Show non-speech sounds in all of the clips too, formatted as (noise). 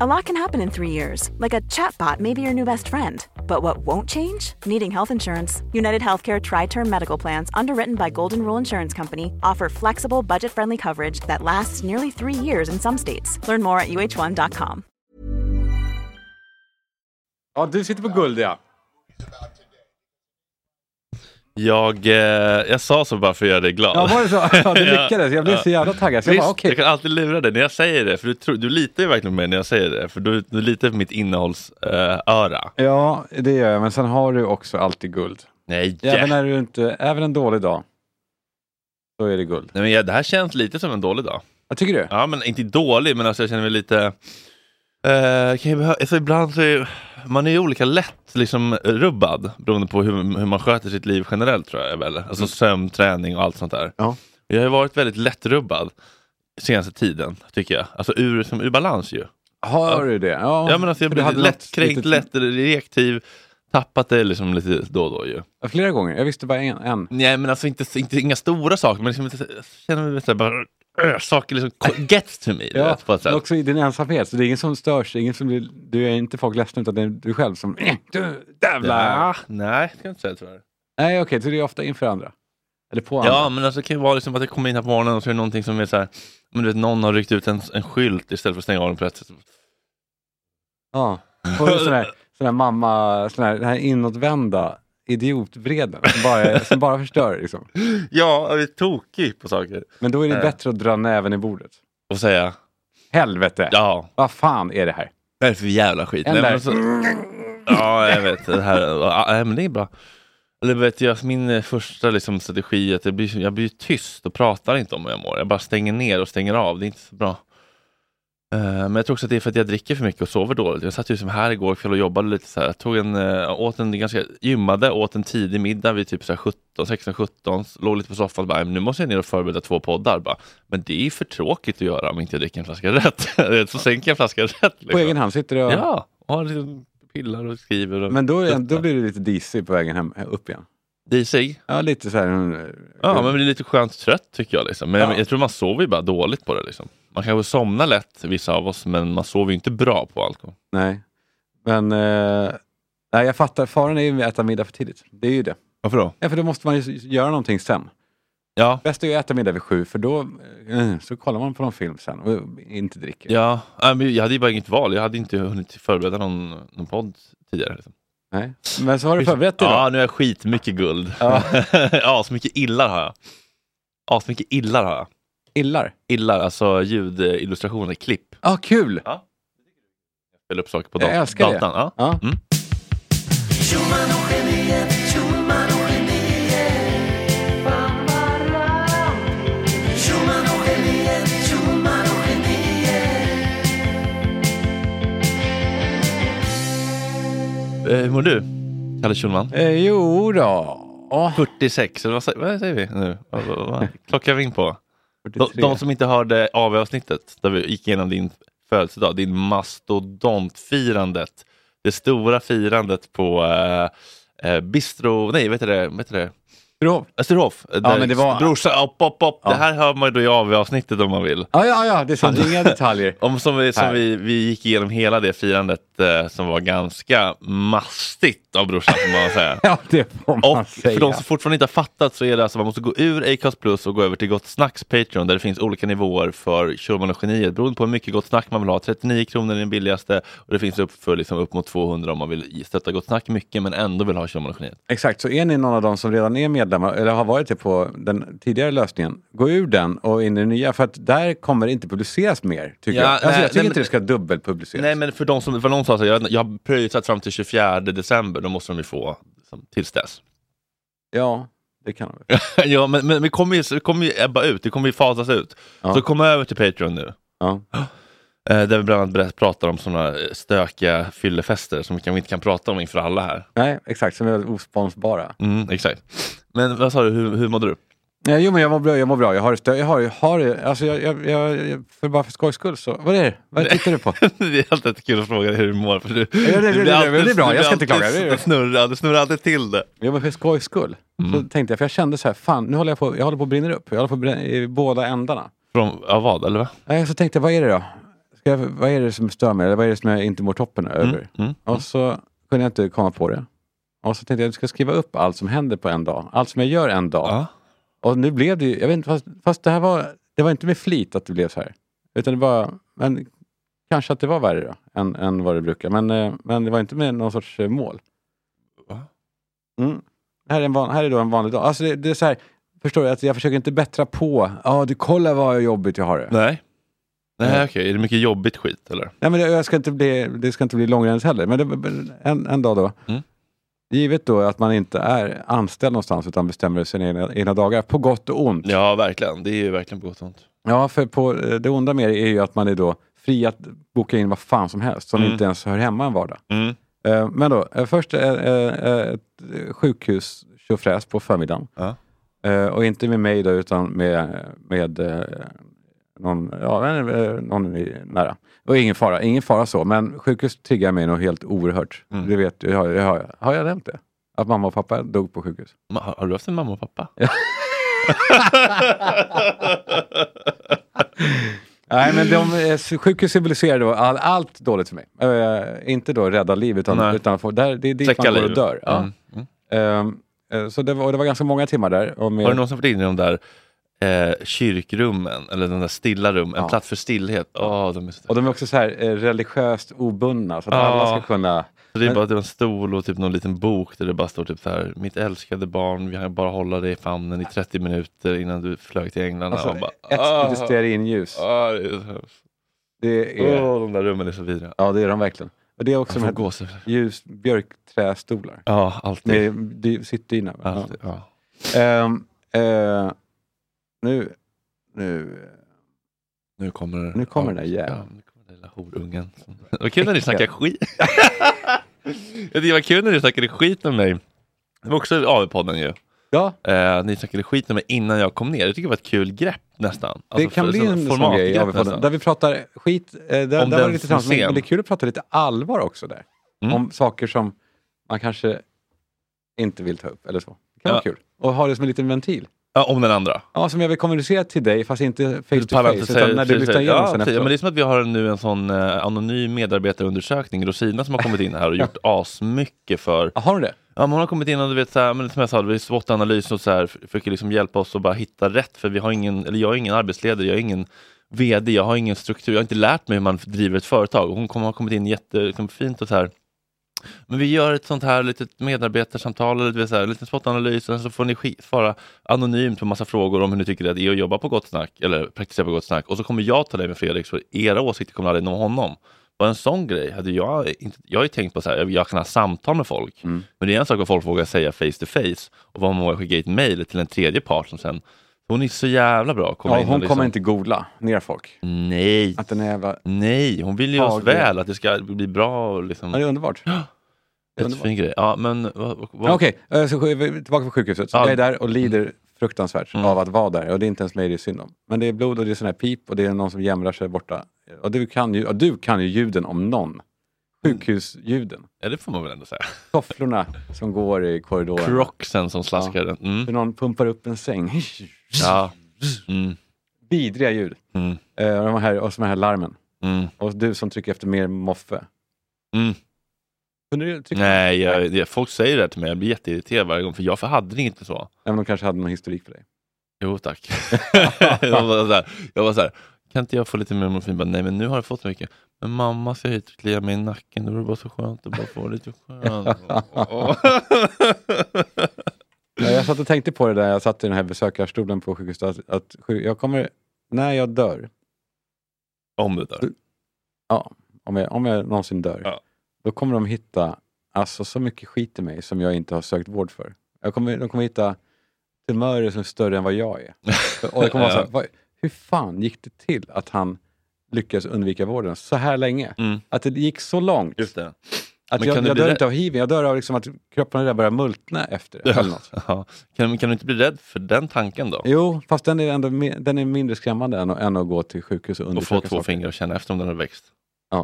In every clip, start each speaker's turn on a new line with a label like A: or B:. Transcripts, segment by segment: A: A lot can happen in three years, like a chatbot may be your new best friend. But what won't change? Needing health insurance. United Healthcare Tri Term Medical Plans, underwritten by Golden Rule Insurance Company, offer flexible, budget friendly coverage that lasts nearly three years in some states. Learn more at uh1.com.
B: Ja, du sitter på guld ja.
C: Jag, eh, jag sa så bara för att göra dig glad.
B: Ja, var det så? Ja,
C: (laughs)
B: du lyckades. Jag blev så jävla taggad. Så jag
C: Visst,
B: bara, okej.
C: jag kan alltid lura dig när jag säger det, för du, tror, du litar ju verkligen på mig när jag säger det, för du, du litar på mitt innehållsöra.
B: Ja, det gör jag. Men sen har du också alltid guld.
C: Nej,
B: Även,
C: yeah.
B: när du inte, även en dålig dag. Så är det guld.
C: Nej men jag, det här känns lite som en dålig dag.
B: Vad tycker du?
C: Ja, men inte dålig, men alltså jag känner mig lite... Eh, kan jag behö- alltså ibland så är man är ju olika lätt liksom, rubbad beroende på hur, hur man sköter sitt liv generellt tror jag. Väl?
B: Mm.
C: Alltså sömn, träning och allt sånt där.
B: Ja.
C: Jag har ju varit väldigt lättrubbad senaste tiden, tycker jag. Alltså ur, som ur balans ju.
B: Har du det?
C: Ja, men alltså jag
B: för du
C: blir
B: hade något
C: lättkränkt,
B: litet-
C: lätt reaktiv, tappat det liksom lite då och då ju.
B: Flera gånger. Jag visste bara en. en.
C: Nej, men alltså inte, inte inga stora saker, men liksom, inte- jag känner mig så här, bara, äh, saker liksom (laughs) gets to me. du
B: Ja,
C: vet, på ett
B: men
C: sätt.
B: också i din ensamhet. Så det är ingen som störs. Det är ingen som blir, du är inte folk ledsna utan det är du själv som... (clears throat) Du, jävlar!
C: Ja, Ah, nej, det kan jag inte säga tyvärr.
B: Nej, okej. så det är ofta inför andra. Eller på andra.
C: Ja, men alltså, det kan ju vara liksom att jag kommer in här på morgonen och så är det någonting som är så här, men du vet, någon har ryckt ut en, en skylt istället för att stänga av den på rätt sätt.
B: Ja. Får du sån här, sån här mamma, sån här, den här inåtvända idiotvreden som bara, som bara förstör. Liksom.
C: Ja, jag är tokig på saker.
B: Men då är det
C: Ja.
B: bättre att dra näven i bordet.
C: Och säga,
B: Helvete!
C: ja,
B: Vad fan är det här?
C: vad är det för jävla skit?
B: En
C: Nej, men
B: där-
C: alltså, ja, jag vet. Det här, ja, nej, men det är bra. Eller vet jag, min eh, första liksom, strategi är att jag blir, jag blir tyst och pratar inte om hur jag mår. Jag bara stänger ner och stänger av. Det är inte så bra. Eh, Men jag tror också att det är för att jag dricker för mycket och sover dåligt. Jag satt ju som här igår kväll och jobbade lite så här. Jag tog en, eh, åt en ganska, gymmade, åt en tidig middag vid typ så här 17, 16, 17. Låg lite på soffan och bara, "Nej, men nu måste jag ner och förbereda två poddar. Bara, men det är ju för tråkigt att göra om inte jag dricker en flaska rätt. (laughs) så sänker jag en flaska rätt. Liksom.
B: På egen hand sitter du och...
C: Ja, och har liksom pillar och skriver. Och
B: Men då, är- då blir du lite disig på vägen hem, upp igen.
C: Disig.
B: Ja, lite så här... mm,
C: Ja, men blir lite skönt trött tycker jag. Liksom. Men
B: Ja.
C: jag, jag tror man sover ju bara dåligt på det. Liksom. Man kanske somnar lätt, vissa av oss, men man sover ju inte bra på alkohol.
B: Nej. Men... eh, nej, jag fattar. Faran är ju att äta middag för tidigt. Det är ju det.
C: Varför då?
B: Ja, för då måste man ju s- göra någonting sen.
C: Ja,
B: Bäst är ju att äta middag vid sju, för då eh, så kollar man på någon film sen och eh, inte dricker.
C: ja. Nej, men jag hade ju bara inget val. Jag hade inte hunnit förbereda någon, någon podd tidigare. Liksom.
B: Nej. Men så har du förberett dig
C: Ja,
B: då?
C: nu har jag skitmycket guld.
B: Ja.
C: (laughs) ja, så mycket illar har jag. Ja, så mycket illar har jag.
B: Illar?
C: Illar, alltså ljudillustrationer, klipp.
B: Ja, ah, kul!
C: Spela upp saker på
B: Jag
C: dat-
B: älskar det.
C: datan. Ja.
B: Ja.
C: Mm. Eh, hur mår du, Kalle Schulman?
B: Eh, jo då. Ja,
C: 46, eller vad, sä- vad säger vi nu? Vad, vad, vad klockar vi in på? De,
B: 43.
C: de som inte hörde AV-avsnittet där vi gick igenom din födelsedag, din mastodontfirandet, det stora firandet på eh, eh, Bistro, nej vet du det, vet du det?
B: Bra.
C: Österhof. där
B: men det var-
C: Brorsa, upp, upp, upp. Det här hör man ju då i AV-avsnittet om man vill.
B: Ja, ja, ja, det är sant. Inga detaljer.
C: Om, som vi, som
B: Här.
C: vi, vi gick igenom hela det firandet eh, som var ganska mastigt av brorsan får man säga.
B: (laughs) Ja, det får man
C: Och
B: säga.
C: för de som fortfarande inte har fattat så är det alltså man måste gå ur Acast Plus och gå över till Gott Snacks Patreon där det finns olika nivåer för Schulman och Geniet beroende på hur mycket Gott Snack man vill ha. 39 kronor är den billigaste och det finns upp för liksom upp mot 200 om man vill stötta Gott Snack mycket men ändå vill ha Schulman och Geniet.
B: Exakt, så är ni någon av dem som redan är medlemmar eller har varit det på den tidigare lösningen, gå ur den och in i den nya för att där kommer det inte publiceras mer. Tycker
C: Ja,
B: jag. Alltså,
C: nej,
B: jag tycker
C: nej,
B: inte
C: men-
B: det ska dubbelpubliceras.
C: Nej men för de som, för någon sa så här, jag, jag har pröjsat fram till 24 december, då måste de ju få liksom, tills dess. (laughs)
B: Ja, det kan man väl.
C: ja men, men vi kommer ju, det kommer ju ebba ut, det kommer ju fasas ut.
B: Ja.
C: Så kom över till Patreon nu.
B: Ja.
C: Eh, där vi bland annat berätt- pratar om sådana stökiga fyllefester som vi kanske inte kan prata om inför alla här.
B: Nej, exakt. Som är väldigt osponsbara.
C: Mm, exakt. Men vad sa du, hur, hur mådde du? (laughs)
B: Nej, jo, men jag mår bra. Jag mår bra. Jag har det stö- jag har, jag har det. Alltså, jag, jag, jag, jag- för bara för skojs skull så. Vad är det? Vad tittar du på?
C: det är alltid kul att fråga dig hur du mår. För du,
B: det- det- det- det är bra, jag ska inte klaga. Det är-
C: Du snurrar, du snurrar alltid till det.
B: Jo, men för skojs skull. Så tänkte jag, för jag kände så här, fan, nu håller jag på, jag håller på att brinna upp. Jag håller på att brinna, i båda ändarna.
C: Från, ja, vad, eller va?
B: Nej, så tänkte jag, vad är det då? Ska jag, vad är det som stör mig? Eller vad är det som jag inte mår toppen över?
C: mm.
B: Och så kunde jag inte komma på det. Och så tänkte jag, jag ska skriva upp allt som händer på en dag. Allt som jag gör en dag.
C: Ja.
B: Och nu blev det ju, jag vet inte, fast, fast det här var, det var inte med flit att det blev så här. Utan det var, men kanske att det var värre då, än, än vad det brukar. Men, eh, men det var inte med någon sorts eh, mål.
C: Va?
B: Mm. Här, är en van, här är då en vanlig dag. Alltså det, det är så här, förstår du, att jag försöker inte bättra på, ja du kollar vad jobbigt jag har det.
C: Nej. Nej,
B: Nej.
C: okej. Är det mycket jobbigt skit eller?
B: Nej, men det, jag ska inte bli, det ska inte bli långrandigt heller, men det, men en, en dag då.
C: Mm.
B: Givet då att man inte är anställd någonstans utan bestämmer sina egna, egna dagar, på gott och ont.
C: Ja, verkligen. Det är ju verkligen på gott och ont.
B: Ja, för på, eh, det onda med det är ju att man är då fri att boka in vad fan som helst som
C: Mm.
B: inte ens hör hemma en vardag.
C: Mm.
B: Eh, Men då, eh, först eh, eh, ett sjukhus tjofräs på förmiddagen.
C: Ja.
B: Eh, Och inte med mig då, utan med, med eh, någon, ja, eh, någon i- nära. Och ingen fara, ingen fara så, men sjukhus triggar mig nog helt oerhört.
C: Mm.
B: Det vet, jag, har- jag, har- har jag nämnt det? Att mamma och pappa dog på sjukhus?
C: Ma- Har, har du haft en mamma och pappa?
B: Nej, men de, eh, sjukhus symboliserar då all, allt dåligt för mig. Eh, inte då rädda liv, utan,
C: Nej.
B: utan få, där, det är dit
C: Släcka
B: man går och
C: liv.
B: dör. Ja.
C: Mm. Mm.
B: Eh, eh, så det var, och det var ganska många timmar där. Och med,
C: Har du någonsin varit inne i de där eh, kyrkrummen, eller de där stilla rum, en
B: Ja.
C: plats för stillhet? Åh, de är så...
B: och de är också så här eh, religiöst obundna, så att
C: Ja.
B: alla ska kunna...
C: Så det är bara typ en stol och typ någon liten bok där det bara står typ så här, mitt älskade barn, vi kan bara hålla dig i famnen i 30 minuter innan du flög till England.
B: Alltså,
C: Och bara,
B: ett
C: "Ah,
B: stearinljus.
C: ah, Oh. det är så hemskt.
B: Det är,
C: Åh, de där rummen är så vidriga.
B: ja, det är de verkligen. Och det är också
C: Jag
B: de
C: får
B: här
C: gåshud.
B: ljus björkträstolar.
C: Ja,
B: Med
C: alltid.
B: dy- sittdyna. Ja.
C: alltid. Ja.
B: Ehm, eh, nu, nu...
C: Nu kommer,
B: Nu kommer den där jäveln.
C: Ja, nu kommer den där lilla horungen. Vad kul när ni snackar skit. (laughs) Jag tycker Det var kul när ni snackade skit om mig. Det var också AV-podden ju.
B: Ja,
C: Eh, ni snackade skit om mig innan jag kom ner. Jag tycker det var ett kul grepp nästan.
B: Det
C: Alltså,
B: kan
C: för-
B: bli
C: som
B: en sån
C: formatgrepp
B: grej av podden,
C: nästan.
B: där vi pratar skit. eh, Där, där
C: Om
B: var det
C: den
B: lite trams, men
C: scen.
B: men det är kul att prata lite allvar också där.
C: Mm.
B: Om saker som man kanske inte vill ta upp eller så. Det kan vara
C: Ja.
B: kul. Och ha det som en liten ventil.
C: Ja, om den andra. Typ
B: Ja, som jag vill kommunicera till dig, fast inte face to
C: Pallar
B: face,
C: inte
B: utan
C: att säga-
B: när du
C: precis,
B: lyssnar igenom
C: ja,
B: sen
C: precis. Ja,
B: efteråt.
C: men Det är som att vi har nu en sån eh, anonym medarbetarundersökning, Rosina, som har kommit in här
B: (laughs)
C: och gjort asmycket för
B: Ja, har du det?
C: Ja, men hon har kommit in och du vet, så här, men som jag sa, det blir SWOT-analys och så här, för- försöker liksom hjälpa oss att bara hitta rätt. För vi har ingen, eller jag är ingen arbetsledare, jag är ingen VD, jag har ingen struktur, jag har inte lärt mig hur man driver ett företag. Hon kommer, har kommit in jättefint liksom, fint och så här. Men vi gör ett sånt här litet medarbetarsamtal, eller du vet, så här, en liten SWOT-analys, och så får ni sk- svara anonymt på massa frågor om hur ni tycker att det är att jobba på Gott Snack, eller praktisera på Gott Snack. Och så kommer jag ta det med Fredrik, så era åsikter kommer aldrig nå honom. Bara en sån grej hade jag inte, jag har ju tänkt på så här, jag kan ha samtal med folk.
B: Mm.
C: Men det är en sak vad folk vågar säga face to face och vad man vågar skicka i ett mejl till en tredje part som sen, hon är så jävla bra. att komma
B: Ja,
C: in och Mm.
B: hon
C: liksom,
B: kommer inte googla ner folk.
C: Nej,
B: Att den är jävla...
C: nej, hon vill ju oss
B: Tage.
C: väl, att det ska bli bra och liksom,
B: Ja, det är underbart.
C: jättefin grej. Ja, men vad, vad,
B: Ja, Okej, eh, så sk- vi- tillbaka på sjukhuset. Så
C: Ja. Mm.
B: Jag är där och lider fruktansvärt av att vara där. Och det är inte ens mig det är synd om. Men det är blod och det är sån här pip och det är någon som jämrar sig borta. Och du kan ju, och du kan ju ljuden om någon. Sjukhusljuden.
C: ja, det får man väl ändå säga.
B: Tofflorna som går i korridoren.
C: Croxen som slaskar den. Mm.
B: Hur någon pumpar upp en säng. (laughs)
C: Ja. Mm.
B: Vidriga ljud.
C: Mm.
B: Eh, och, de här, och så de här larmen.
C: Mm.
B: Och du som trycker efter mer moffe.
C: Mm.
B: Kunde du trycka?
C: Nej, jag, det, folk säger det här till mig, jag blir jätteirriterad varje gång, för jag för hade det inte så.
B: Även om de kanske hade någon historik för dig.
C: Jo tack. (laughs) jag, var så här, jag var så här, kan inte jag få lite mer morfin? Bara, Nej men nu har jag fått så mycket. Men mamma ska hit och klia mig i nacken, det vore bara så skönt att bara få lite
B: (laughs)
C: skönt.
B: Ja, Jag satt och tänkte på det där jag satt i den här besökarstolen på sjukhuset. Att, att sju- jag kommer, när jag dör,
C: Om det där.
B: ja, om, jag, om jag någonsin dör,
C: Ja.
B: då kommer de hitta alltså, så mycket skit i mig som jag inte har sökt vård för. Jag kommer, de kommer hitta
C: (laughs)
B: tumörer som är större än vad jag är. Och jag kommer vara så här,
C: Ja.
B: "Vad- hur fan gick det till att han lyckades undvika vården så här länge.
C: Mm.
B: Att det gick så långt.
C: Just det.
B: Att
C: Men kan
B: jag,
C: du
B: jag
C: bli
B: dör
C: rädd?
B: inte av hiv, jag dör av liksom att kroppen där börjar multna efter det. Eller något.
C: Ja. Kan, kan du inte bli rädd för den tanken då?
B: Jo, fast den är, ändå, me- den är mindre skrämmande än att, än att gå till sjukhus och
C: Och
B: undersöka
C: få två
B: saker.
C: fingrar och känna efter om den har växt.
B: Eh,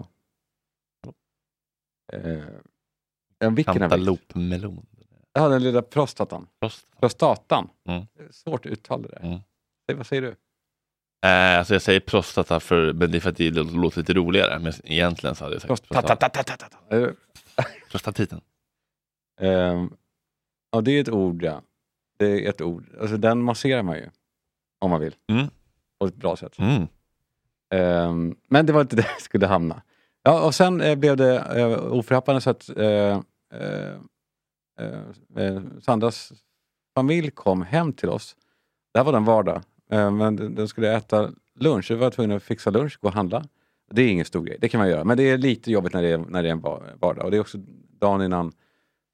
B: ja, vilken har växt?
C: Antalopmelon.
B: Ja, den lilla prostatan.
C: Prost.
B: Prostatan.
C: Mm.
B: Svårt uttal det där.
C: Mm.
B: Säg, vad säger du?
C: Eh, alltså jag säger prostata för, men det är för att det låter lite roligare. Men egentligen så hade jag sagt prostata.
B: Prostatatatatata. Eh,
C: prostatiten.
B: ehm, Ja, det är ett ord ja. Det är ett ord. Alltså, den masserar man ju. Om man vill.
C: Mm.
B: På ett bra sätt.
C: Mm.
B: Ehm, men det var inte (laughs) där jag skulle hamna. Ja, och sen eh, blev det eh, oförhappande så att eh, eh, eh, eh, Sandras familj kom hem till oss. Det här var den vardag. Eh, men den- den skulle äta lunch. Vi var tvungna att fixa lunch, gå och handla. Det är ingen stor grej, det kan man göra. Men det är lite jobbigt när det är, när det är en va- vardag. Och det är också dagen innan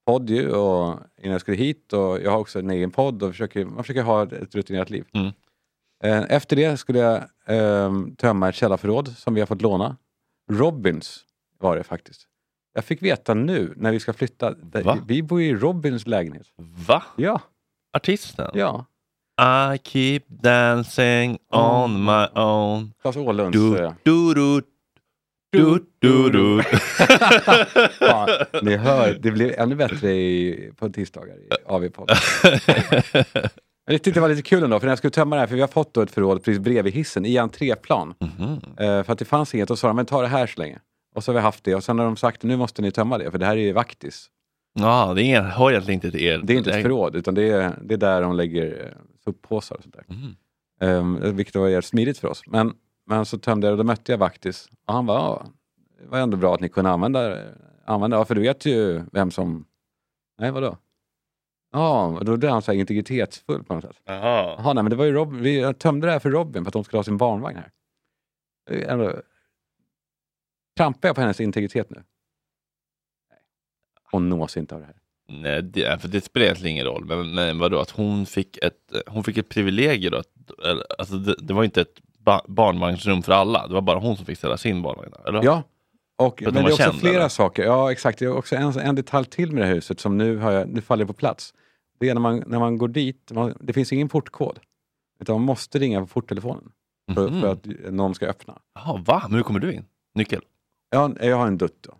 B: podd ju, och innan jag skulle hit. Och jag har också en egen podd och försöker, man försöker ha ett- ett rutinerat liv.
C: Mm.
B: Eh, Efter det skulle jag ehm, tömma ett källarförråd som vi har fått låna. Robins var det faktiskt. Jag fick veta nu när vi ska flytta. där-
C: Va?
B: Vi bor ju i Robins lägenhet.
C: Va?
B: Ja,
C: Artisten?
B: ja.
C: I keep dancing on my own.
B: Claes Åhlunds. eh,
C: Du, du, du, du, du, du.
B: Ja, ni hör, det blev ännu bättre i, på tisdagar i AV-podden.
C: (laughs)
B: Men Jag tyckte det var lite kul ändå, för när jag skulle tömma det här, för vi har fått då ett förråd precis bredvid hissen i entréplan.
C: Mhm.
B: Eh, för att det fanns inget, och så sa de, men ta det här så länge. Och så har vi haft det, och sen har de sagt, nu måste ni tömma det, för det här är ju vaktis.
C: (laughs) Ja, det är, hör egentligen inte till er.
B: Det är inte ett
C: Nej.
B: förråd, utan det är, det är där de lägger eh, soppåsar och sånt där.
C: Mm.
B: Um, vilket var jävligt smidigt för oss. Men, men så tömde jag det och då mötte jag Vaktis. Och han bara, "Ja, det var ändå bra att ni kunde använda använda. Ja, för du vet ju vem som... Nej, vadå? Ja, och då blev han så här integritetsfull på något sätt.
C: Jaha.
B: Jaha, nej, men det var ju Robin. Vi jag tömde det här för Robin för att hon skulle ha sin barnvagn här. Det är Ändå... Trampar jag på hennes integritet nu? Nej. Hon nås inte av det här.
C: Nej, det, för det spelar egentligen ingen roll. Men, men vadå, att hon fick ett, hon fick ett privilegium då? Att, eller, alltså det, det var inte ett ba, barnvagnsrum för alla. Det var bara hon som fick ställa sin barnvagn där, eller?
B: Ja. Och,
C: att
B: men
C: de
B: det
C: var
B: är också
C: kända,
B: flera
C: eller?
B: saker. Ja, exakt. Det är också en, en detalj till med det här huset som nu, har jag, nu faller på plats. Det är när man, när man går dit, man, det finns ingen portkod. Utan man måste ringa på porttelefonen för,
C: Mhm.
B: för att någon ska öppna.
C: Jaha, va? Men hur kommer du in? Nyckel?
B: Ja, jag har en dutt då.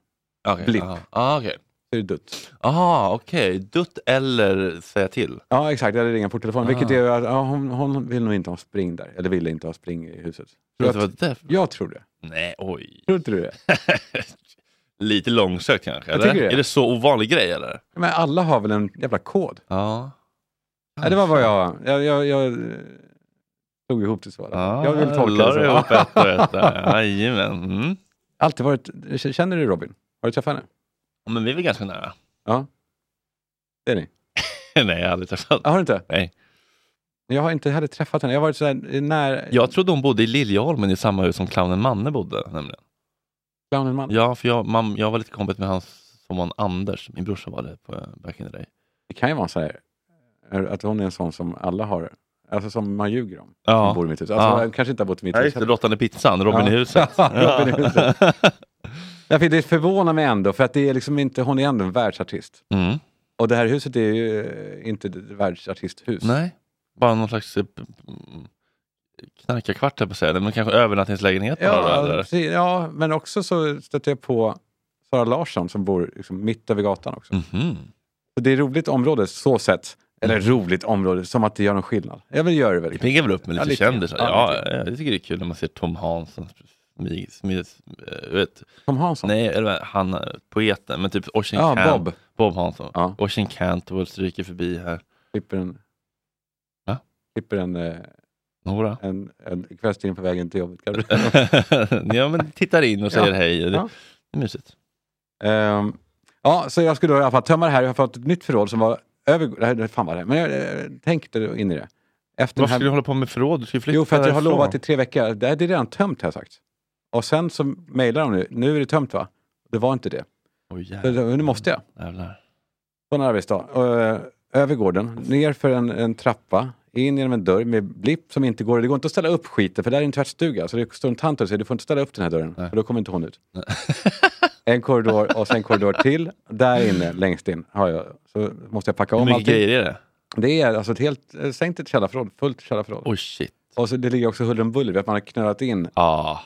C: Okay,
B: Blipp.
C: Aha, ah, okej.
B: Det är dutt.
C: Ah, okej. Dutt eller säga till?
B: Ja, exakt. Eller ringa porttelefonen.
C: Ah.
B: Vilket är att ja, hon, hon vill nog inte ha spring där. Eller ville inte ha spring i huset.
C: Tror
B: Jag,
C: du att det var det?
B: jag tror det.
C: Nej, oj. (laughs)
B: Tror inte du det?
C: Lite långsökt kanske?
B: Jag
C: Eller?
B: tycker det.
C: Är det så ovanlig grej eller?
B: Men alla har väl en jävla kod?
C: Ja.
B: Nej, det var vad jag... Jag, jag, jag eh, tog ihop det så.
C: Ah,
B: jag vill tolka det så.
C: ihop ett och ett. (laughs) där. Jajamän. Mm.
B: (laughs) Alltid varit, känner du Robin? Har du träffat henne?
C: Ja, Men vi är väl ganska nära? (laughs)
B: Det är ni?
C: Nej, jag har aldrig träffat
B: Ah, har du inte?
C: Nej.
B: Jag har inte heller träffat henne. Jag har varit sådär när...
C: Jag trodde hon bodde i Liljeholmen i samma hus som clownen Manne bodde. Nämligen.
B: Clownen man.
C: Ja, för jag, mam, jag var lite kompis med hans som var en Anders. Min brorsa var det på eh, back in the day.
B: Det kan ju vara så här eh, att hon är en sån som alla har, alltså som man ljuger om. Som
C: Ja,
B: bor i mitt hus. Alltså,
C: Ja.
B: jag kanske inte har bott i mitt
C: ja
B: hus.
C: just det. Råttan i pizzan,
B: (laughs)
C: Robin
B: Ja.
C: i huset.
B: Robin i huset.
C: (laughs)
B: Därför det förvånar mig ändå, för att det är liksom inte, hon är ändå en världsartist.
C: mm.
B: Och det här huset är ju eh, inte ett världsartisthus.
C: Nej, bara någon slags eh, p- mm, knarkarkvart höll jag på att säga. Men kanske övernattningslägenhet bara då,
B: Ja,
C: eller?
B: precis. ja, men också så stötte jag på Sara Larsson som bor liksom mitt över gatan också.
C: Mhm.
B: Så det är roligt område så sett. Eller roligt område, som att det gör någon skillnad. Jag vill göra det väl.
C: Mm. Det piggar väl upp med
B: Ja,
C: lite
B: lite.
C: kändisar.
B: Ja,
C: Ja,
B: lite.
C: jag tycker det är kul när man ser Tom Hansson. Smid, smid, eh, vet,
B: Tom Hansson.
C: nej, eller han eh, poeten, men typ Oisin
B: ja,
C: Cant-
B: Bob.
C: Bob Hansson.
B: Ja.
C: Oisin Cantwell stryker förbi här.
B: Klipper en...
C: Va?
B: Klipper en, eh,
C: Nora. (laughs)
B: en, en kvällstidning på vägen till jobbet. kanske.
C: ja, men tittar in och säger
B: Ja.
C: hej. Det,
B: Ja.
C: det är mysigt.
B: Ehm, ja, så jag skulle då i alla fall tömma det här. Jag har fått ett nytt förråd som var över... det här- Fan vad det är. Men jag eh, tänkte in i det. Efter den
C: Varför
B: här...
C: skulle du hålla på med förråd? Du ska ju flytta
B: Jo, för att jag har
C: därifrån.
B: lovat i tre veckor. Det här det är redan tömt har jag sagt. Och sen så mejlar de nu. Nu är det tömt va? Det var inte det.
C: Oj,
B: Så,
C: jävlar.
B: Nu måste jag.
C: Jävlar.
B: På en arbetsdag. Och, eh, över gården, ner för en, en trappa, in genom en dörr med blipp som inte går. Det går inte att ställa upp skiten för där är en tvättstuga. Så det står en tant och säger du får inte ställa upp den här dörren för då kommer inte hon ut. (laughs) en korridor och sen korridor till. Där inne, längst in, har jag. Så måste jag packa
C: Hur
B: om
C: mycket
B: allting.
C: grejer är det?
B: Det är alltså ett helt eh, sänkt ett källarförråd, fullt källarförråd.
C: Oj shit.
B: Och så det ligger också huller om buller, vet, man har knölat in
C: Ah.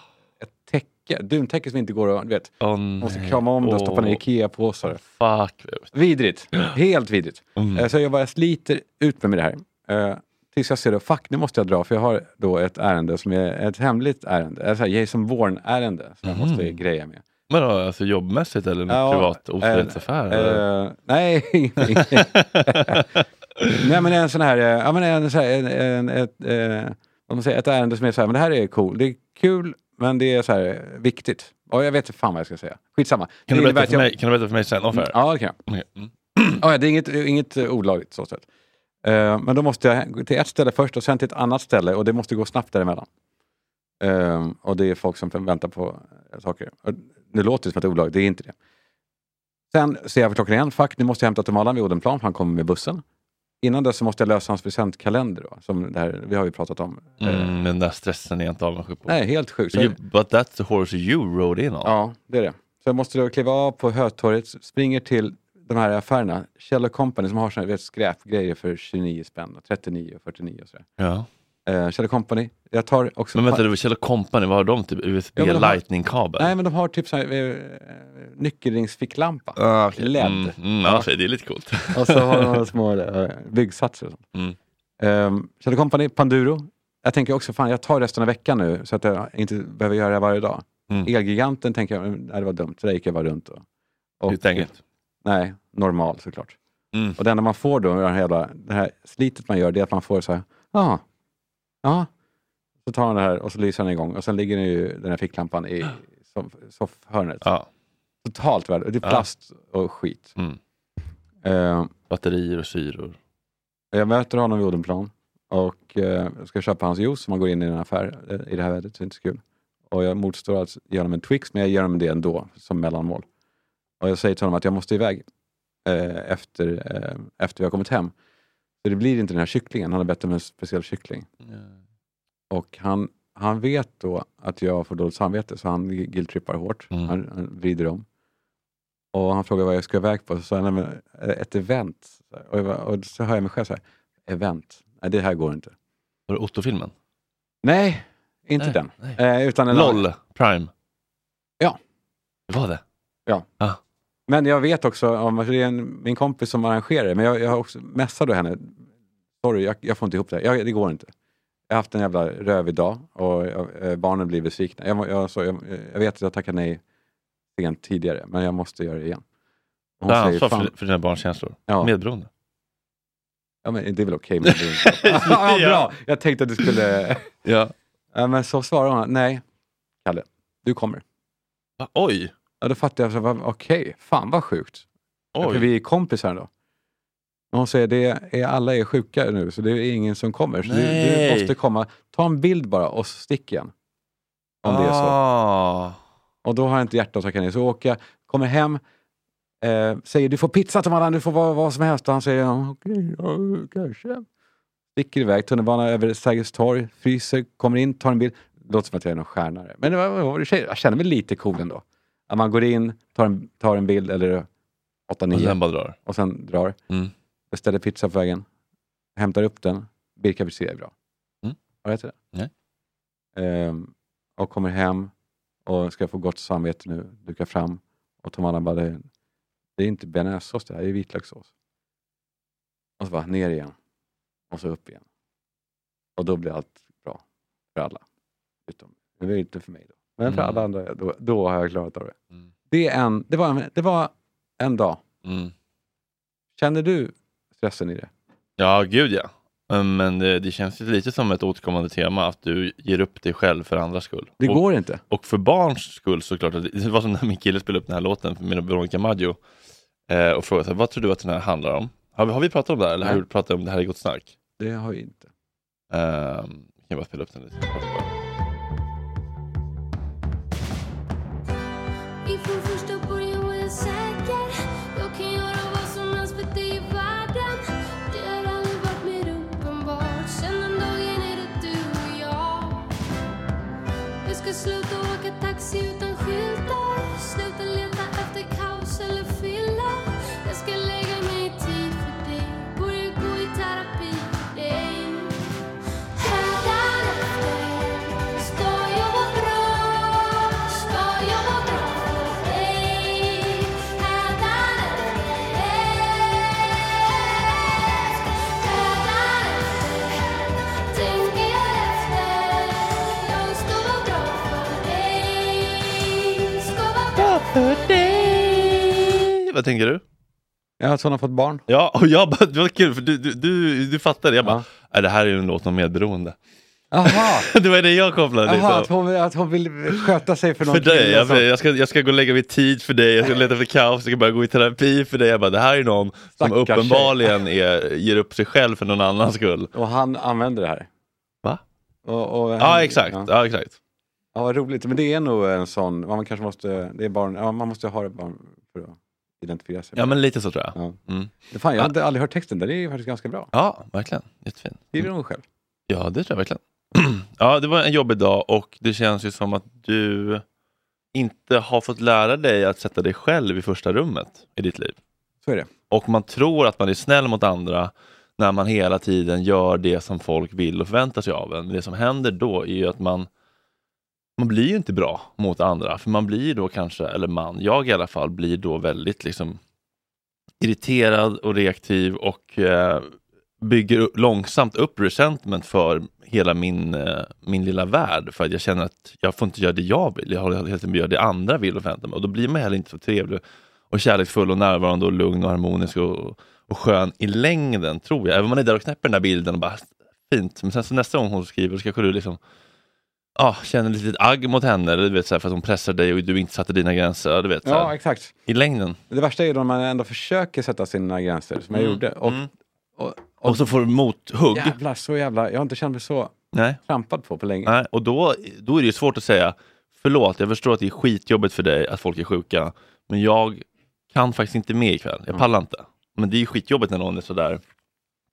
B: ett täcke, duntäcke som inte går att, du vet,
C: Åh, nej.
B: måste krama om det och stoppa ner
C: Åh,
B: IKEA-påsar.
C: Fuck.
B: Vidrigt, helt vidrigt.
C: Mm.
B: Eh, Så jag bara sliter ut med mig det här. Eh, Tills jag ser det, fuck nu måste jag dra för jag har då ett ärende som är ett hemligt ärende, alltså Jason Bourne-ärende som jag
C: Mhm.
B: måste greja med.
C: Men då, alltså jobbmässigt eller någon
B: Ja,
C: privat
B: en-
C: ofredsaffär? eller?
B: Eh, nej, (laughs) ingenting. nej, men en sån här, eh, ja, men en, sån här en, en, ett, eh, vad man säger, ett ärende som är så här, men det här är cool, det är kul, men det är så här eh, viktigt. Ja, jag vet inte fan vad jag ska säga. Skitsamma.
C: kan,
B: Det
C: du
B: innebär
C: berätta
B: att
C: för
B: jag-
C: mig, kan du berätta för mig sen? Offer?
B: Ja, det kan jag.
C: Okej. Mm.
B: Ja, det är inget, inget eh, olagligt så sett. Eh, men då måste jag gå till ett ställe först och sen till ett annat ställe och det måste gå snabbt däremellan. Eh, och det är folk som väntar på eh, saker. Och nu låter det som att det är olagligt, det är inte det. Sen ser jag på klockan igen, fuck nu måste jag hämta Tomalan vid Odenplan för han kommer med bussen. Innan dess så måste jag lösa hans presentkalender då, som det här, vi har ju pratat om. Eh,
C: Mm, den där stressen är jag inte avundsjuk på.
B: Nej, helt sjukt. Så-
C: You, but that's the horse you rode in on.
B: Ja, det är det. Så jag måste då kliva av på Hötorget, springer till de här affärerna, Kjell Company som har såna här, vet, skräpgrejer för 29 spänn, och 39 och 49 och sådär.
C: Ja.
B: Eh, Kjell Company. Jag tar också...
C: Men vänta, det var Kjell Company, vad har de? Typ
B: Ja, men de har-
C: USB-lightning-kabel?
B: Nej, men de har typ så här, eh, nyckelringsficklampa.
C: Ah, okej.
B: LED.
C: Mm, mm, ja. okej, Det är lite coolt.
B: (laughs) Och så har de några små eh, byggsatser och sånt.
C: Mm.
B: Ehm, Kjell Company, Panduro. Jag tänker också, fan jag tar resten av veckan nu så att jag inte behöver göra det här varje dag.
C: Mm.
B: Elgiganten tänker jag, nej det var dumt, så där gick jag bara runt. Och, och-
C: Helt enkelt.
B: Nej, normal såklart.
C: Mm.
B: Och det enda man får då, med den här jävla, det här slitet man gör, det är att man får så här, ja, ja. Så tar man det här och så lyser den igång och sen ligger den ju, den här ficklampan i soff- soffhörnet.
C: Ja.
B: Totalt värd. Det är
C: Ja.
B: plast och skit.
C: Mm.
B: Eh,
C: Batterier och syror.
B: jag möter honom vid Odenplan och eh, jag ska köpa hans juice som man går in i en affär eh, i det här vädret, så det är inte så kul. Och jag motstår att ge honom en Twix, men jag ger honom det ändå som mellanmål. Och jag säger till honom att jag måste iväg eh, efter, eh, efter vi har kommit hem. Så det blir inte den här kycklingen, han har bett om en speciell kyckling. Och han, han vet då att jag får dåligt samvete, så han guilt-trippar hårt.
C: Mm.
B: Han, han vrider om. Och han frågar vad jag ska iväg på, så sa jag, "Nej, men, eh, ett event. Så här. Och, jag, bara- och så hör jag mig själv så här, event, nej det här går inte.
C: Var det Otto-filmen?
B: Nej, inte
C: Nej,
B: den.
C: nej.
B: Eh, utan en annan.
C: LOL Prime?
B: Ja.
C: Det var det?
B: Men jag vet också, om, alltså, det är en, min kompis som arrangerar det, men jag, jag har också messade henne. Sorry, jag, jag får inte ihop det här. Jag, det går inte. Jag har haft en jävla rövig dag och jag, eh, barnen blir besvikna. Jag, må- jag, så, jag, jag vet att jag tackade nej sent tidigare, men jag måste göra det igen. Hon
C: Du har
B: säger,
C: ansvar
B: fan,
C: för, för dina barns känslor?
B: Ja.
C: Medberoende?
B: ja, men det är väl okej. men det
C: (laughs)
B: är- ja, bra, jag tänkte att du skulle...
C: Ja.
B: Ja, men så svarar hon, nej, Kalle, du kommer.
C: Va? Oj!
B: Ja, då fattade jag, så jag bara, okej, fan vad sjukt. För
C: Oj!
B: vi är kompisar ändå. Men hon säger, det är, alla är sjuka nu, så det är ingen som kommer. Så du, du
C: Nej.
B: måste komma. Ta en bild bara och så stick igen. Om det är så.
C: Ah.
B: Och då har jag inte hjärta att tacka nej. Så åker jag, kommer hem, eh, säger du får pizza till du får vad, vad som helst. Och han säger, "Ja, okej, ja, kanske. Sticker iväg, tunnelbana över Sergels torg, fryser, kommer in, tar en bild. Låter som att jag är någon stjärnare. Men det var- vad var det, tjejer? jag känner mig lite cool ändå. Att man går in, tar en, tar en bild, eller
C: Och
B: 8-9
C: sen bara drar.
B: och sen drar.
C: Mm.
B: Beställer pizza på vägen. Hämtar upp den. Birka pizzeria är bra.
C: Mm.
B: Har jag rätt i det?
C: Nej.
B: Ehm, och kommer hem och ska få gott samvete nu. Dukar fram. Och Tom Allan bara, det, det är inte bearnaisesås det här, det är vitlökssås. Och så bara ner igen. Och så upp igen. Och då blir allt bra. För alla. Utom, det är inte för mig då. Men för
C: Mm.
B: alla andra, då, då har jag klarat av det.
C: Mm.
B: Det, är en, det, var en, det var en dag.
C: Mm.
B: Känner du stressen i det?
C: Ja, gud ja. Mm, Men det, det känns ju lite som ett återkommande tema att du ger upp dig själv för andras skull.
B: Det
C: och,
B: går inte.
C: och för barns skull såklart. att Det det var som när min kille spelade upp den här låten med Veronica Maggio eh, och frågade så här, vad tror du att den här handlar om? Har vi, har vi pratat om det här eller har
B: Nej.
C: du pratat om det här i Gott Snack?
B: Det har jag inte.
C: Ehm, kan jag bara spela upp den lite kort bara.
D: Ifrån första början var jag säker Jag kan göra vad som helst för dig i världen Det har aldrig varit mer uppenbart Sen
C: today. Mm, Vad tänker du?
B: Ja, att hon har fått barn.
C: Ja, och jag bara, det var kul för du, du, du, du fattade. Jag bara,
B: Ja.
C: "Nej, det här är ju en låt om medberoende. (laughs)
B: Jaha,
C: Det var det jag
B: (laughs)
C: kopplade.
B: Jaha att,
C: liksom.
B: hon, att hon vill sköta sig för alltså. någon
C: För dig,
B: kille
C: jag,
B: som-
C: jag, ska, jag ska gå och lägga mig i tid för dig, jag ska leta efter kaos, jag ska bara gå i terapi för dig. Jag bara, det här är någon som
B: Stackars tjej.
C: uppenbarligen är, ger upp sig själv för någon annans skull.
B: Och han använder det här.
C: Va?
B: Och, och,
C: Ja, exakt.
B: Ja.
C: Ja, exakt.
B: Ja, vad roligt. Men det är nog en sån, man kanske måste, det är barn, ja, man måste ha det barn för att identifiera sig.
C: Ja, men lite så tror jag.
B: Ja.
C: Mm.
B: Fan, jag har inte aldrig hört texten, den är ju faktiskt ganska bra.
C: Ja, verkligen. Jättefin.
B: Skriver hon själv?
C: Ja, det tror jag verkligen. (clears throat) ja, det var en jobbig dag och det känns ju som att du inte har fått lära dig att sätta dig själv i första rummet i ditt liv.
B: Så är det.
C: Och man tror att man är snäll mot andra när man hela tiden gör det som folk vill och förväntar sig av en. Men det som händer då är ju att man, man blir ju inte bra mot andra. För man blir då kanske, eller man, jag i alla fall, blir då väldigt liksom irriterad och reaktiv och eh, bygger upp, långsamt upp resentment för hela min, eh, min lilla värld. För att jag känner att jag får inte göra det jag vill. Jag har hela tiden gör det andra vill och förväntar mig. Och då blir man heller inte så trevlig och kärleksfull och närvarande och lugn och harmonisk och, och skön i längden, tror jag. Även om man är där och knäpper den där bilden och bara fint. Men sen så nästa gång hon skriver så kanske du liksom ah, känner lite litet agg mot henne. Eller du vet, så här, för att hon pressar dig och du inte satte dina gränser. Du vet, så
B: Ja,
C: här,
B: exakt.
C: I längden.
B: Det värsta är ju när man ändå försöker sätta sina gränser, som jag
C: Mm.
B: gjorde. Och,
C: Mm.
B: och,
C: Och så får du mothugg.
B: jävlar, så jävla, jag har inte känt mig så
C: Nej.
B: trampad på på länge.
C: Nej, och då, då är det ju svårt att säga förlåt, jag förstår att det är skitjobbigt för dig att folk är sjuka, men jag kan faktiskt inte med ikväll. Jag pallar inte. Men det är ju skitjobbigt när någon är sådär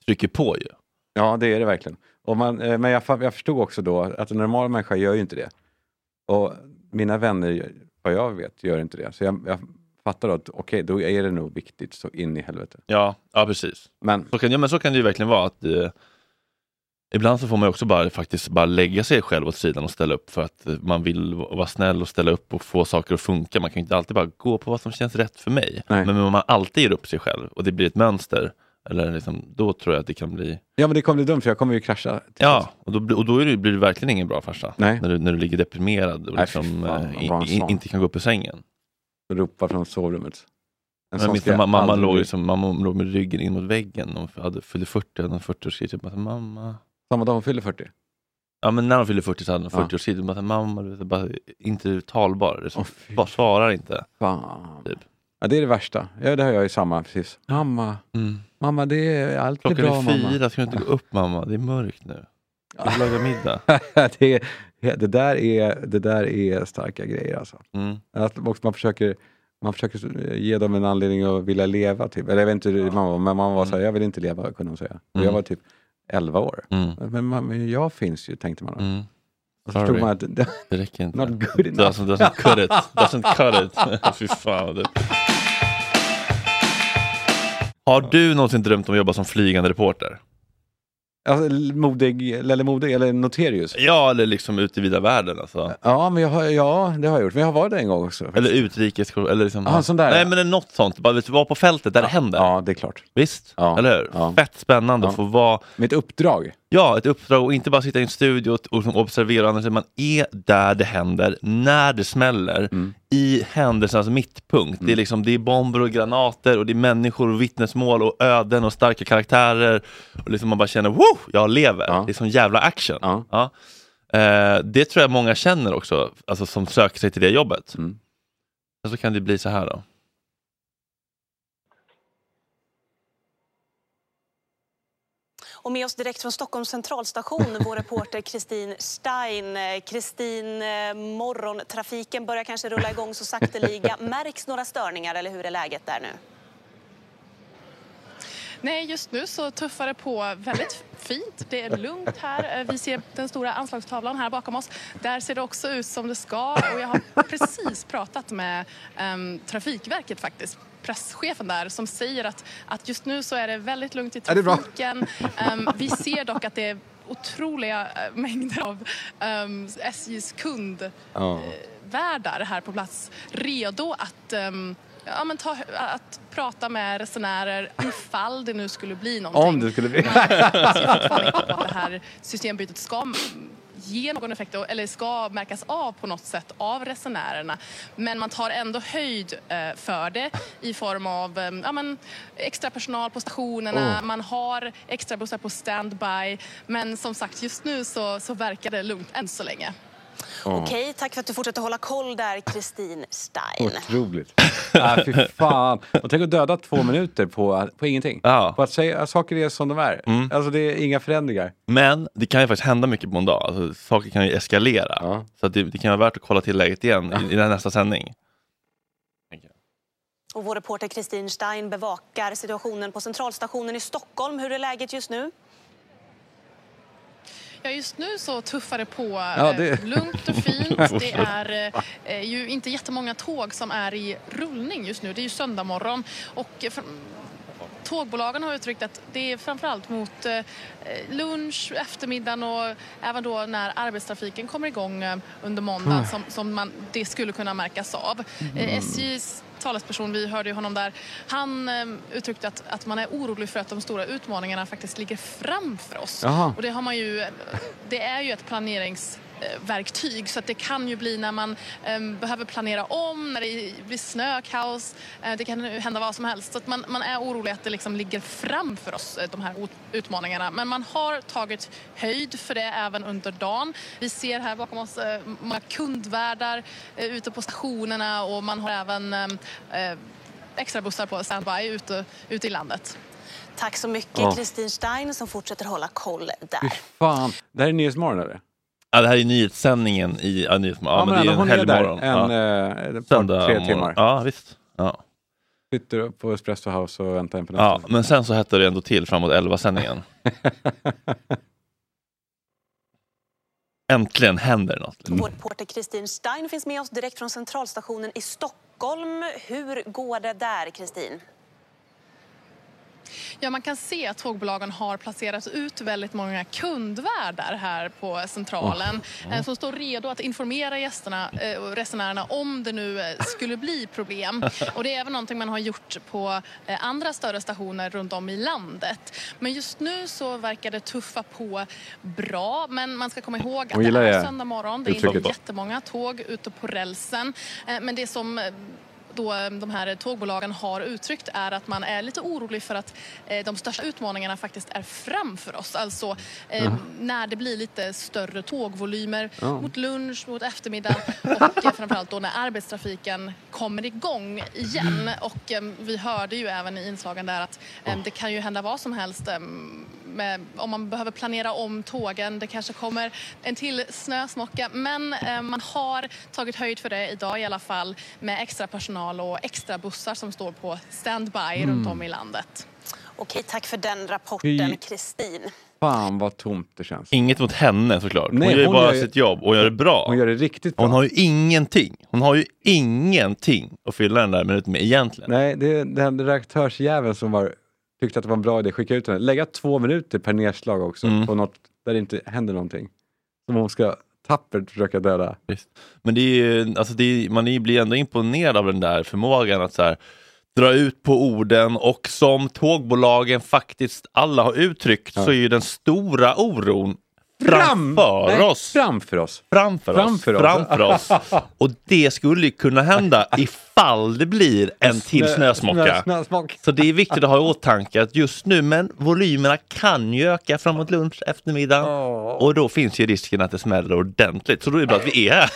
C: trycker på ju.
B: Ja, det är det verkligen. Och man, eh, men jag, fa- jag förstod också då att en normal människa gör ju inte det. Och mina vänner, gör- vad jag vet, gör inte det. Så jag, jag fattar då att okej, då är det nog viktigt så in i helvete.
C: Ja, ja precis.
B: Men
C: Så kan, ja, men så kan det ju verkligen vara. att eh, Ibland så får man ju också bara, faktiskt bara lägga sig själv åt sidan och ställa upp för att eh, man vill v- vara snäll och ställa upp och få saker att funka. Man kan ju inte alltid bara gå på vad som känns rätt för mig.
B: Nej.
C: Men om man alltid ger upp sig själv och det blir ett mönster, eller liksom, då tror jag att det kan bli
B: Ja, men det kommer bli dumt för jag kommer ju krascha. till
C: Ja,
B: slut.
C: och då, blir- och då är det, blir du verkligen ingen bra farsa.
B: Alltså. Nej.
C: När, du, när du ligger deprimerad och
B: Nej,
C: liksom,
B: fy fan,
C: eh,
B: vad bra en
C: i- i-
B: sån.
C: inte kan gå upp ur sängen.
B: Och ropa från sovrummet. En
C: Jag minns
B: ska
C: när
B: jag
C: ma- mamma,
B: aldrig
C: låg
B: bli.
C: liksom, mamma låg med ryggen in mot väggen. Hon hade, fyllde 40, hade en 40-årskris. Jag bara, mamma.
B: Samma dag hon fyller 40.
C: Ja, men när hon fyllde 40 så hade hon
B: Ja.
C: 40-årskris. Jag bara, mamma, du vet, bara, inte talbar. Liksom.
B: Åh, fy
C: bara svarar inte.
B: fan.
C: Typ.
B: Ja, det är det värsta. Ja, det har jag ju samma, precis. Mamma, mamma, Mm. det är allt är
C: Klockan
B: bra
C: är
B: (laughs)
C: fyra,
B: mamma.
C: ska du inte gå upp mamma? Det är
B: (laughs)
C: mörkt nu. Ska du laga middag?
B: det, är, det, där är, det där är starka grejer alltså.
C: Mm.
B: Att också man, försöker, man försöker eh, ge dem en anledning att vilja leva. Typ. Eller jag vet inte hur man var, men man var så här, jag vill inte leva, kunde hon säga. Och
C: Mm.
B: jag var typ 11 år.
C: Mm.
B: Men, man, men jag finns ju, tänkte man.
C: Mm.
B: Och så förstod
C: Sorry.
B: man att det,
C: Det räcker inte.
B: Not good enough.
C: Doesn't, doesn't alltså cut it. Doesn't cut it. (laughs) Fy fan. vad det- Har du någonsin drömt om att jobba som flygande reporter?
B: alltså, modig, eller modig, eller noterius.
C: Ja, eller liksom ute i vida världen alltså.
B: Ja, men jag har, ja, det har jag gjort. Men jag har varit det en gång också.
C: Eller utrikes... Eller liksom,
B: Ja, en sån där,
C: Nej,
B: ja.
C: men det är något sånt. Bara vet du, vara på fältet där det händer.
B: Ja, det är klart.
C: Visst?
B: Ja.
C: Eller hur?
B: Ja.
C: Fett spännande att
B: Ja.
C: få vara...
B: Mitt uppdrag.
C: Ja, ett uppdrag och inte bara sitta i en studio och, och liksom observera andra. utan Man är där det händer, när det smäller,
B: Mm.
C: i händelsernas mittpunkt. Det, är liksom, det är bomber och granater och det är människor och vittnesmål och öden och starka karaktärer. Och liksom man bara känner wow, jag lever.
B: Ja.
C: Det är som jävla action.
B: Ja.
C: Eh, det tror jag många känner också, alltså som söker sig till det jobbet.
B: Mm.
C: Men så kan det bli så här då.
E: Och med oss direkt från Stockholms centralstation, vår reporter Kristin Stein. Eh, Kristin, eh, morgontrafiken börjar kanske rulla igång så sakteliga. Märks några störningar eller hur är läget där nu?
F: Nej, just nu så tuffar det på väldigt fint. Det är lugnt här. Eh, Vi ser den stora anslagstavlan här bakom oss. Där ser det också ut som det ska. Och jag har precis pratat med ehm, Trafikverket faktiskt presschefen där som säger att, att just nu så är det väldigt lugnt i
B: Ja, det är bra.
F: trafiken. Ehm, vi ser dock att det är otroliga eh, mängder av um, SJs kund
B: Ja.
F: värdar här på plats redo att, ehm, ja, men ta, att prata med resenärer ifall det nu skulle bli någonting. Alltså,
B: Om det skulle bli...
F: Jag ser fortfarande inte på att det här systembytet ska ge någon effekt och- eller ska märkas av på något sätt av resenärerna. Men man tar ändå höjd eh, för det i form av eh, ja, men, extra personal på stationerna, man har extra bussar på standby. Men som sagt, just nu så, så verkar det lugnt än så länge.
E: Okej, tack för att du fortsätter hålla koll där, Kristin Stein.
B: Otroligt. (laughs) ah, fy fan. Och tänk att döda två minuter på, på ingenting.
C: Ja. Mm.
B: På att säga att saker är som de är. Alltså det är inga förändringar.
C: Men det kan ju faktiskt hända mycket på en dag. Alltså, saker kan ju eskalera.
B: Ja.
C: Så att det, det kan vara värt att kolla till läget igen i, i den nästa sändning.
E: Och vår reporter Kristin Stein bevakar situationen på Centralstationen i Stockholm. Hur är läget just nu?
F: Ja, just nu så tuffar det på
B: Ja,
F: eh,
B: det-
F: lugnt och
B: (laughs)
F: fint. Det är eh, ju inte jättemånga tåg som är i rullning just nu. Det är ju söndag morgon. Och eh, för, tågbolagen har uttryckt att det är framförallt mot eh, lunch, eftermiddagen och även då när arbetstrafiken kommer igång eh, under
B: Ah.
F: måndagen som, som man, det skulle kunna märkas av.
B: Mm.
F: Eh, SJs talesperson, vi hörde ju honom där, han eh, uttryckte att, att man är orolig för att de stora utmaningarna faktiskt ligger framför oss.
B: Jaha.
F: Och det, har man ju, det är ju ett planeringsverktyg så att det kan ju bli när man eh, behöver planera om, när det blir snö, kaos, eh, det kan ju hända vad som helst. Så att man, man är orolig att det liksom ligger framför oss, eh, de här ot- utmaningarna. Men man har tagit höjd för det även under dagen. Vi ser här bakom oss eh, många kundvärdar eh, ute på stationerna och man har även eh, eh, extrabussar på standby ute, ute i landet.
E: Tack så
B: Ja.
E: mycket, Kristin Stein, som fortsätter hålla koll
B: Fy
E: där.
B: fan. Det här är Nyhetsmorgon eller?
C: Ja, det här är nyhetssändningen i ja, nyhetsmorgon. Ja, men det är
B: ändå,
C: en helgmorgon.
B: en,
C: ja.
B: eh, ett
C: Söndag
B: par, tre
C: morgon.
B: timmar.
C: Ja, visst. Ja.
B: Sitter upp på Espresso House och väntar in på
C: Ja,
B: nästa.
C: men sen så hette det ändå till
B: (laughs)
C: framåt 11-sändningen. Äntligen händer något.
E: Vår reporter Kristin Stein finns med oss direkt från Centralstationen i Stockholm. Hur går det där, Kristin?
F: Ja, man kan se att tågbolagen har placerat ut väldigt många kundvärdar här på centralen eh, som står redo att informera gästerna eh, och resenärerna om det nu eh, skulle bli problem. Och det är även någonting man har gjort på eh, andra större stationer runt om i landet. Men just nu så verkar det tuffa på bra, men man ska komma ihåg
B: Hon
F: att det
B: gillar
F: är
B: det.
F: söndag morgon. Det är inte
B: Uttrycket.
F: jättemånga tåg ute på rälsen, eh, men det som eh, då eh, de här tågbolagen har uttryckt är att man är lite orolig för att eh, de största utmaningarna faktiskt är framför oss. Alltså eh, när det blir lite större tågvolymer mot lunch, mot eftermiddag och eh, framförallt då när arbetstrafiken kommer igång igen. Och eh, vi hörde ju även i inslagen där att eh, det kan ju hända vad som helst eh, med, om man behöver planera om tågen. Det kanske kommer en till snösmocka. Men eh, man har tagit höjd för det idag i alla fall med extra personal och extra bussar som står på standby runt om i landet.
E: Okej, tack för den
B: Fy-
E: rapporten, Kristin.
B: Fan vad tomt det känns.
C: Inget mot henne såklart. Hon
B: Nej,
C: gör ju
B: hon
C: bara
B: gör ju-
C: sitt jobb och gör det bra.
B: Hon gör det riktigt bra.
C: Hon har ju ingenting. Hon har ju ingenting att fylla den där minuten med egentligen.
B: Nej, det är den redaktörsjäveln som var, tyckte att det var en bra idé att skicka ut henne. Lägga två minuter per nedslag också
C: Mm.
B: på något där det inte händer någonting. Som hon ska tappert försöka döda.
C: Visst. Men det är ju, alltså det är, man är ju- blir ändå imponerad av den där förmågan att så här, dra ut på orden och som tågbolagen faktiskt alla har uttryckt så är ju den stora oron framför
B: Nej,
C: oss.
B: Framför oss!
C: Framför,
B: Framför
C: oss.
B: oss.
C: Framför oss.
B: (laughs)
C: Och det skulle ju kunna hända ifall det blir en till
B: Snö-
C: snösmocka.
B: snö- snösmock.
C: Så det är viktigt att ha i åtanke att just nu, men volymerna kan ju öka framåt lunch, eftermiddag. Och då finns ju risken att det smäller ordentligt. Så då är det bra att vi är här.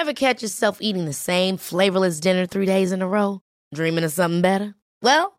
G: Ever catch yourself eating the same flavorless dinner three days in a row? Dreaming of something better? Well,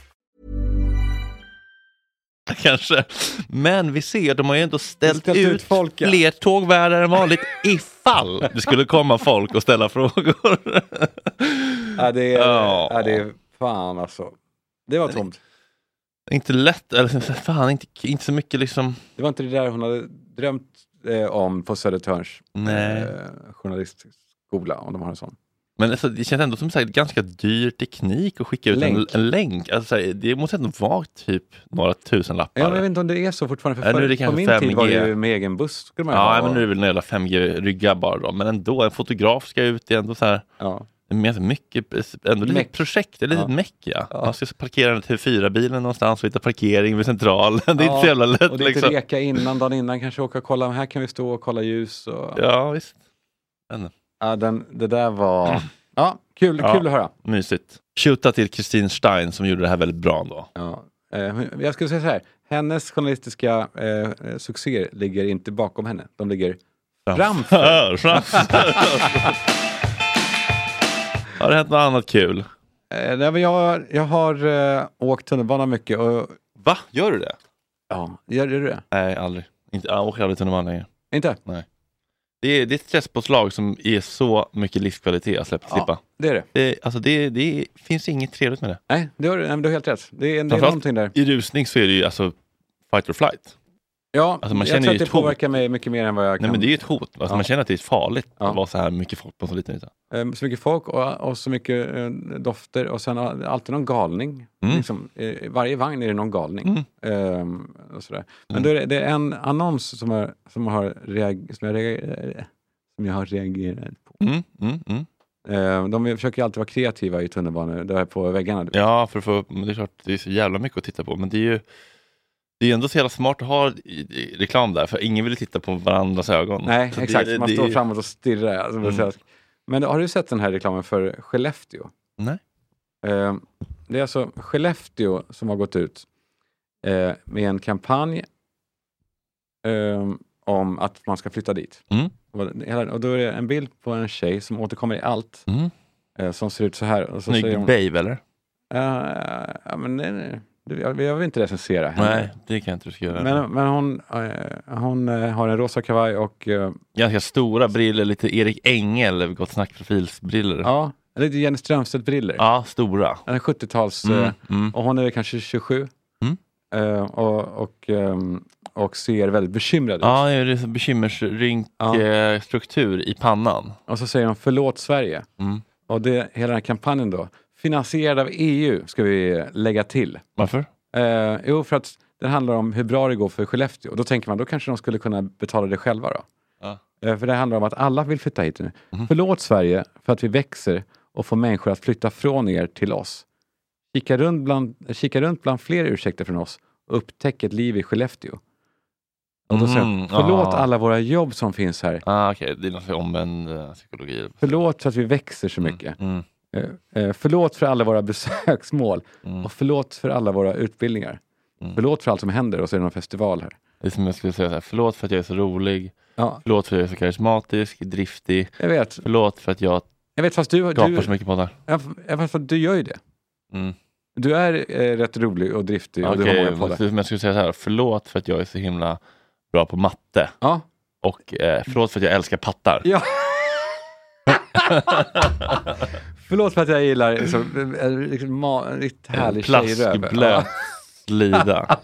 C: (laughs) kanske. Men vi ser att de har ju ändå ställt,
B: Ställt ut
C: ut,
B: folk, ja.
C: fler tågvärdar än vanligt
B: (laughs)
C: ifall det skulle komma folk och ställa frågor. (laughs)
B: Ja, det är,
C: Ja.
B: ja, det är fan alltså. Det var tomt.
C: inte lätt, eller fan inte, inte så mycket liksom.
B: Det var inte det där hon hade drömt eh, om på Södertörns
C: Nej.
B: eh, journalistskola, om de har en sån.
C: Men alltså, det känns ändå som sagt ganska dyr teknik att skicka ut
B: Länk.
C: En, en länk. Alltså, så här, det måste ändå vara typ några tusen lappar.
B: Ja, men jag vet inte om det är så fortfarande, för
C: Ja, nu är det
B: förr- på
C: kanske
B: min tid var
C: 5G.
B: det ju med egen buss. Skulle man ju
C: Ja,
B: ha.
C: men nu är det väl några 5G-ryggar bara då. Men ändå, en fotograf ska ut, det är ändå så här,
B: ja.
C: det är ganska alltså, mycket, ändå lite
B: Meck.
C: projekt, det är lite
B: Ja.
C: meck ja. Man ska parkera den till 4-bilen någonstans och hitta parkering vid centralen. (laughs) Det är inte så jävla lätt
B: Och det är inte
C: liksom.
B: reka innan, dagen innan kanske åka och kolla, men här kan vi stå och kolla ljus. Och... Ja.
C: Ja, visst.
B: den, det där var... Ja, kul,
C: Ja.
B: kul att höra.
C: Mysigt. Shoota till Kristin Stein som gjorde det här väldigt bra ändå.
B: Ja. Eh, Jag skulle säga så här, hennes journalistiska eh, succéer ligger inte bakom henne, de ligger framför.
C: Framför. Har det hänt något annat kul?
B: Eh, nej, men jag, jag har eh, åkt tunnelbana mycket och...
C: Va? Gör du det?
B: Ja, gör du det?
C: Nej, aldrig. Inte, jag åker aldrig tunnelbana längre.
B: Inte?
C: Det är, det är ett stresspåslag som är så mycket livskvalitet att släppa. slippa.
B: Det är det.
C: Det, alltså det, det finns inget trevligt med det.
B: Nej, du har, nej, men du har helt rätt. Det är, det är
C: Framförallt-
B: någonting där.
C: I rusning så är det ju alltså fight or flight.
B: Ja,
C: Alltså, man
B: jag
C: känner
B: tror
C: ju
B: att det
C: ett hot.
B: påverkar mig mycket mer än vad jag kan.
C: Nej men det är ju ett hot. Alltså
B: Ja.
C: Man känner att det är farligt
B: Ja.
C: att vara så här mycket folk på en så liten yta.
B: Eh, Så mycket folk och, och så mycket eh, dofter och sen all- alltid någon galning.
C: Mm.
B: Liksom, eh, varje vagn är det någon galning. Eh, och sådär. Men då är det, det är en annons som jag, som jag, har, reag, som jag, reager, som jag har reagerat på.
C: Mm, mm, mm.
B: Eh, de försöker ju alltid vara kreativa i tunnelbanor, där på väggarna.
C: Ja, för att få, men det är klart, det är så jävla mycket att titta på. Men det är ju det är ju ändå så jävla smart att ha i- i- reklam där, för ingen vill ju titta på varandras ögon.
B: Nej,
C: så det-
B: exakt.
C: det-
B: man
C: det-
B: står framåt och stirrar. Alltså,
C: Mm.
B: så här. Men har du sett den här reklamen för Skellefteå?
C: Nej.
B: Eh, det är alltså Skellefteå som har gått ut eh, med en kampanj eh, om att man ska flytta dit.
C: Mm.
B: Och, hela, och då är det en bild på en tjej som återkommer i allt,
C: Mm.
B: eh, som ser ut så här. Och så
C: Snygg
B: säger hon,
C: babe eller?
B: "Eh, ja, men, nej, nej, nej. jag, jag vill inte recensera henne.
C: Nej, det kan jag inte du ska göra.
B: Men, men hon, eh, hon eh, har en rosa kavaj och eh,
C: Ganska stora briller, lite Erik Engel, Gott Snack-profilsbriller. Ja.
B: ja, lite Jenny Strömstedt-brillor.
C: stora.
B: En 70-tals... eh,
C: Mm, mm.
B: Och hon är väl kanske 27.
C: Mm.
B: Eh, och, och, ehm, och ser väldigt bekymrad ut.
C: Ja, det är bekymmersrynkstruktur i pannan.
B: Och så säger hon förlåt Sverige.
C: Mm.
B: Och det, hela den här kampanjen då, finansierad av EU ska vi lägga till.
C: Varför?
B: Eh, jo, för att det handlar om hur bra det går för Skellefteå. Och då tänker man, då kanske de skulle kunna betala det själva då.
C: Ja. Mhm.
B: Eh, för det handlar om att alla vill flytta hit nu. Förlåt Sverige för att vi växer och får människor att flytta från er till oss. Kika runt bland, kika runt bland fler ursäkter från oss och upptäck ett liv i Skellefteå. Och då säger
C: Mhm,
B: hon, förlåt
C: ja.
B: alla våra jobb som finns här.
C: Ah, Okej, det är någon slags omvänd eh, psykologi.
B: Förlåt för att vi växer så mycket.
C: Mm.
B: Eh, eh, förlåt för alla våra (laughs) besöksmål.
C: Mm.
B: Och förlåt för alla våra utbildningar.
C: Mm.
B: Förlåt för allt som händer och så är det någon festival här.
C: Det är som jag skulle säga, så här, förlåt för att jag är så rolig,
B: Ja,
C: förlåt för att jag är så karismatisk, driftig,
B: jag vet.
C: förlåt för att jag
B: Jag vet, fast du,
C: gapar
B: du,
C: så mycket på det här.
B: jag, jag, fast du gör ju det.
C: Mm.
B: Du är eh, rätt rolig och driftig och du har många poddar.
C: Okej, men jag skulle säga så här, förlåt för att jag är så himla bra på matte
B: Ja.
C: och eh, förlåt för att jag älskar pattar.
B: ja. Förlåt för att jag gillar så, eh, liksom, ma- riktigt härlig
C: Plaskblöt
B: tjejröv. Ja. (laughs)
C: Slida.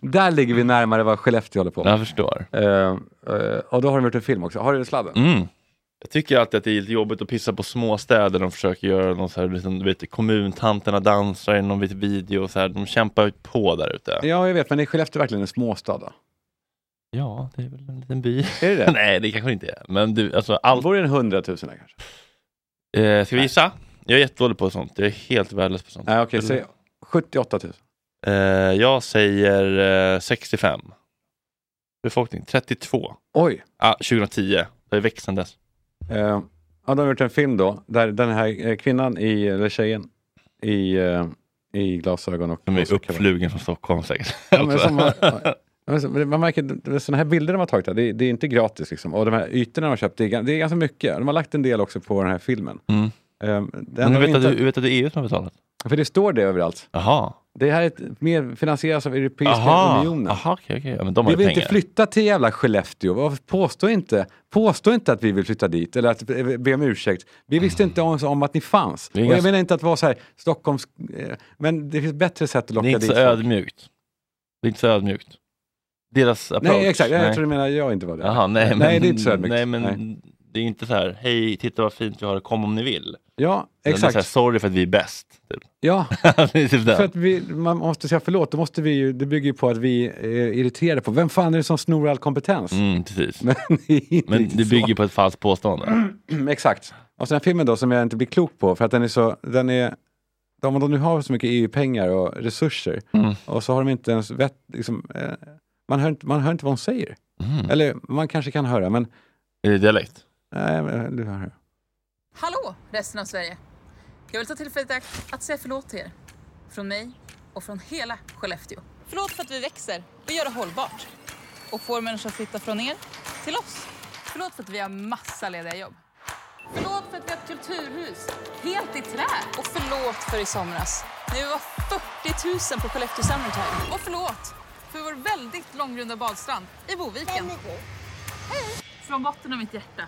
B: Där ligger vi närmare vad Skellefteå håller på med.
C: Jag förstår.
B: och då har de gjort en film också. Har du sladden?
C: Mm. Jag tycker alltid att det är lite jobbigt att pissa på småstäder. De försöker göra någon så här, liksom, du vet, kommuntanterna dansar i någon vit video. Och så här. De kämpar på där ute.
B: Ja, jag vet, men är Skellefteå verkligen en småstad då?
C: Ja, det är väl en liten by.
B: Är det det?
C: (laughs) Nej, det kanske inte är. Men du, alltså allt.
B: Bor det en hundratusen där kanske?
C: Eh, ska vi gissa? Jag är jättedålig på sånt. Jag är helt värdelös på sånt.
B: Nej, okej, säg 78 000.
C: Eh, jag säger eh, 65. Befolkning 32.
B: Oj!
C: Ah, 2010. Det är växande.
B: Eh, ja, de har gjort en film då, där den här eh, kvinnan, i, eller tjejen, i, eh, i glasögon och...
C: De är
B: och så-
C: uppflugen från Stockholm säkert.
B: Ja, men
C: (laughs)
B: som har- ja, men som- Man märker att sådana här bilder de har tagit, här, det, är- det är inte gratis. Liksom. Och de här ytorna de har köpt, det är, gan- det är ganska mycket. De har lagt en del också på den här filmen.
C: Mm.
B: Eh, det
C: Men
B: enda de
C: du vet, att
B: inte-
C: du, du vet att det är EU som har betalat?
B: För det står det överallt.
C: Jaha.
B: Det här är ett, mer finansieras av Europeiska
C: Aha.
B: unionen.
C: Aha, okej, okej. Ja, men de
B: Vi
C: har ju
B: vill
C: pengar.
B: inte flytta till jävla Skellefteå. Varför- Påstå inte, påstå inte att vi vill flytta dit eller att eh, be om ursäkt. Vi visste inte ens om att ni fanns.
C: är
B: Och jag
C: ganska-
B: menar inte att vara så här Stockholms... eh, Men det finns bättre sätt att
C: det är
B: locka
C: inte
B: dit
C: så
B: folk.
C: ödmjukt. Det är inte så ödmjukt. Deras approach.
B: Nej, exakt. Jag tror du menar jag inte var det.
C: Jaha, nej, men,
B: nej, det är inte så ödmjukt.
C: Nej, men
B: Nej.
C: det är inte så här, hej, titta vad fint vi har, kom om ni vill.
B: Ja,
C: Utan Det är så här,
B: exakt.
C: Sorry för att vi är bäst. Typ. (laughs)
B: Ja,
C: det är typ
B: för
C: den.
B: att vi, man måste säga förlåt. Då måste vi ju, det bygger ju på att vi är irriterade på vem fan är det som snor all kompetens? (laughs)
C: Mm, precis.
B: Men, det är inte
C: Men
B: riktigt
C: det
B: så.
C: bygger på ett falskt påstående.
B: Mm, Exakt. Och sen den här filmen då som jag inte blir klok på för att den är så, den är, de, de nu har så mycket EU-pengar och resurser
C: Mm.
B: och så har de inte ens vett, liksom, eh, man, hör inte, man hör inte vad hon säger.
C: Mm.
B: Eller man kanske kan höra men,
C: Är det dialekt?
B: nej men eh, du hör.
H: Hallå resten av Sverige! Jag vill ta tillfället i akt att säga förlåt till er. Från mig och från hela Skellefteå. Förlåt för att vi växer och gör det hållbart. Och får människor att flytta från er till oss. Förlåt för att vi har massa lediga jobb. Förlåt för att vi har ett kulturhus helt i trä. Och förlåt för i somras när vi var 40 000 på Skellefteå Summertime. Och förlåt för vår väldigt långrunda badstrand i Boviken. Från botten av mitt hjärta.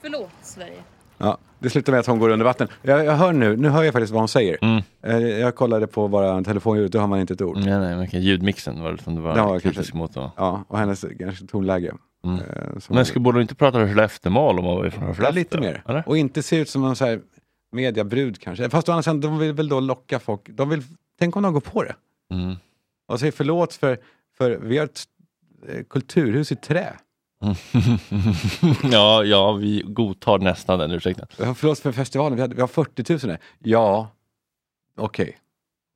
H: Förlåt Sverige.
B: Ja, det slutar med att hon går under vatten. Jag, jag hör nu, nu hör jag faktiskt vad hon säger.
C: Mm.
B: Eh, Jag kollade på våra telefonljud, då hör man inte ett ord.
C: Nej, nej, men okej, ljudmixen var det som du var
B: Ja, Mm. kanske.
C: kritisk mot. Då.
B: Ja, och hennes kanske tonläge.
C: Mm.
B: eh, som-
C: Men skulle, borde du inte prata Skelleftemål om man var från
B: Ja,
C: Skellefteå?
B: lite mer.
C: Eller?
B: Och inte se ut som en så här mediabrud kanske. Fast å andra sidan, de vill väl då locka folk. De vill, tänk om de går på det.
C: Mm.
B: Och säger förlåt för, för vi har ett eh, kulturhus i trä.
C: (laughs) ja, ja, vi godtar nästan den ursäkten.
B: Ja, Förlåt för festivalen, vi, hade, vi har 40 000 här. Ja, okej.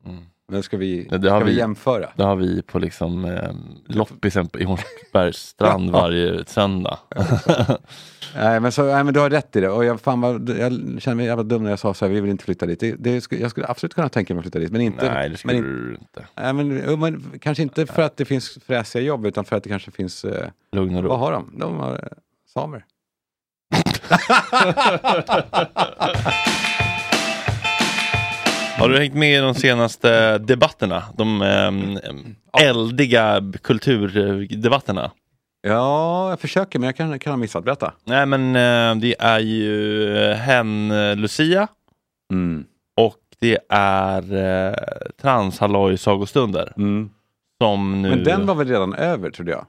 C: Mm.
B: Men ska vi,
C: Ja, det har
B: ska vi
C: vi-
B: jämföra?
C: Det har vi på liksom, eh, loppisen på- i Hornsbergs strand varje
B: (laughs)
C: söndag.
B: Nej, men, så, nej, men du har rätt i det. Och jag, fan vad, jag känner mig jävla dum när jag sa så här, vi vill inte flytta dit. Det, det, skulle- jag skulle absolut kunna tänka mig att flytta dit, men inte...
C: Nej, det
B: men,
C: skulle
B: in,
C: du inte.
B: nej, men, jo, men kanske inte för att det finns fräsiga jobb, utan för att det kanske finns... Eh,
C: Lugn och ro.
B: Vad har de? De har eh, samer.
C: Har du hängt med i de senaste debatterna? De ehm, ehm, eldiga kulturdebatterna?
B: Ja, jag försöker men jag kan, kan ha missat. Berätta.
C: Nej men eh, det är ju eh, hen eh, Lucia
B: Mm.
C: och det är eh, transhalloj sagostunder som nu...
B: Mm. Men den var väl redan över trodde jag?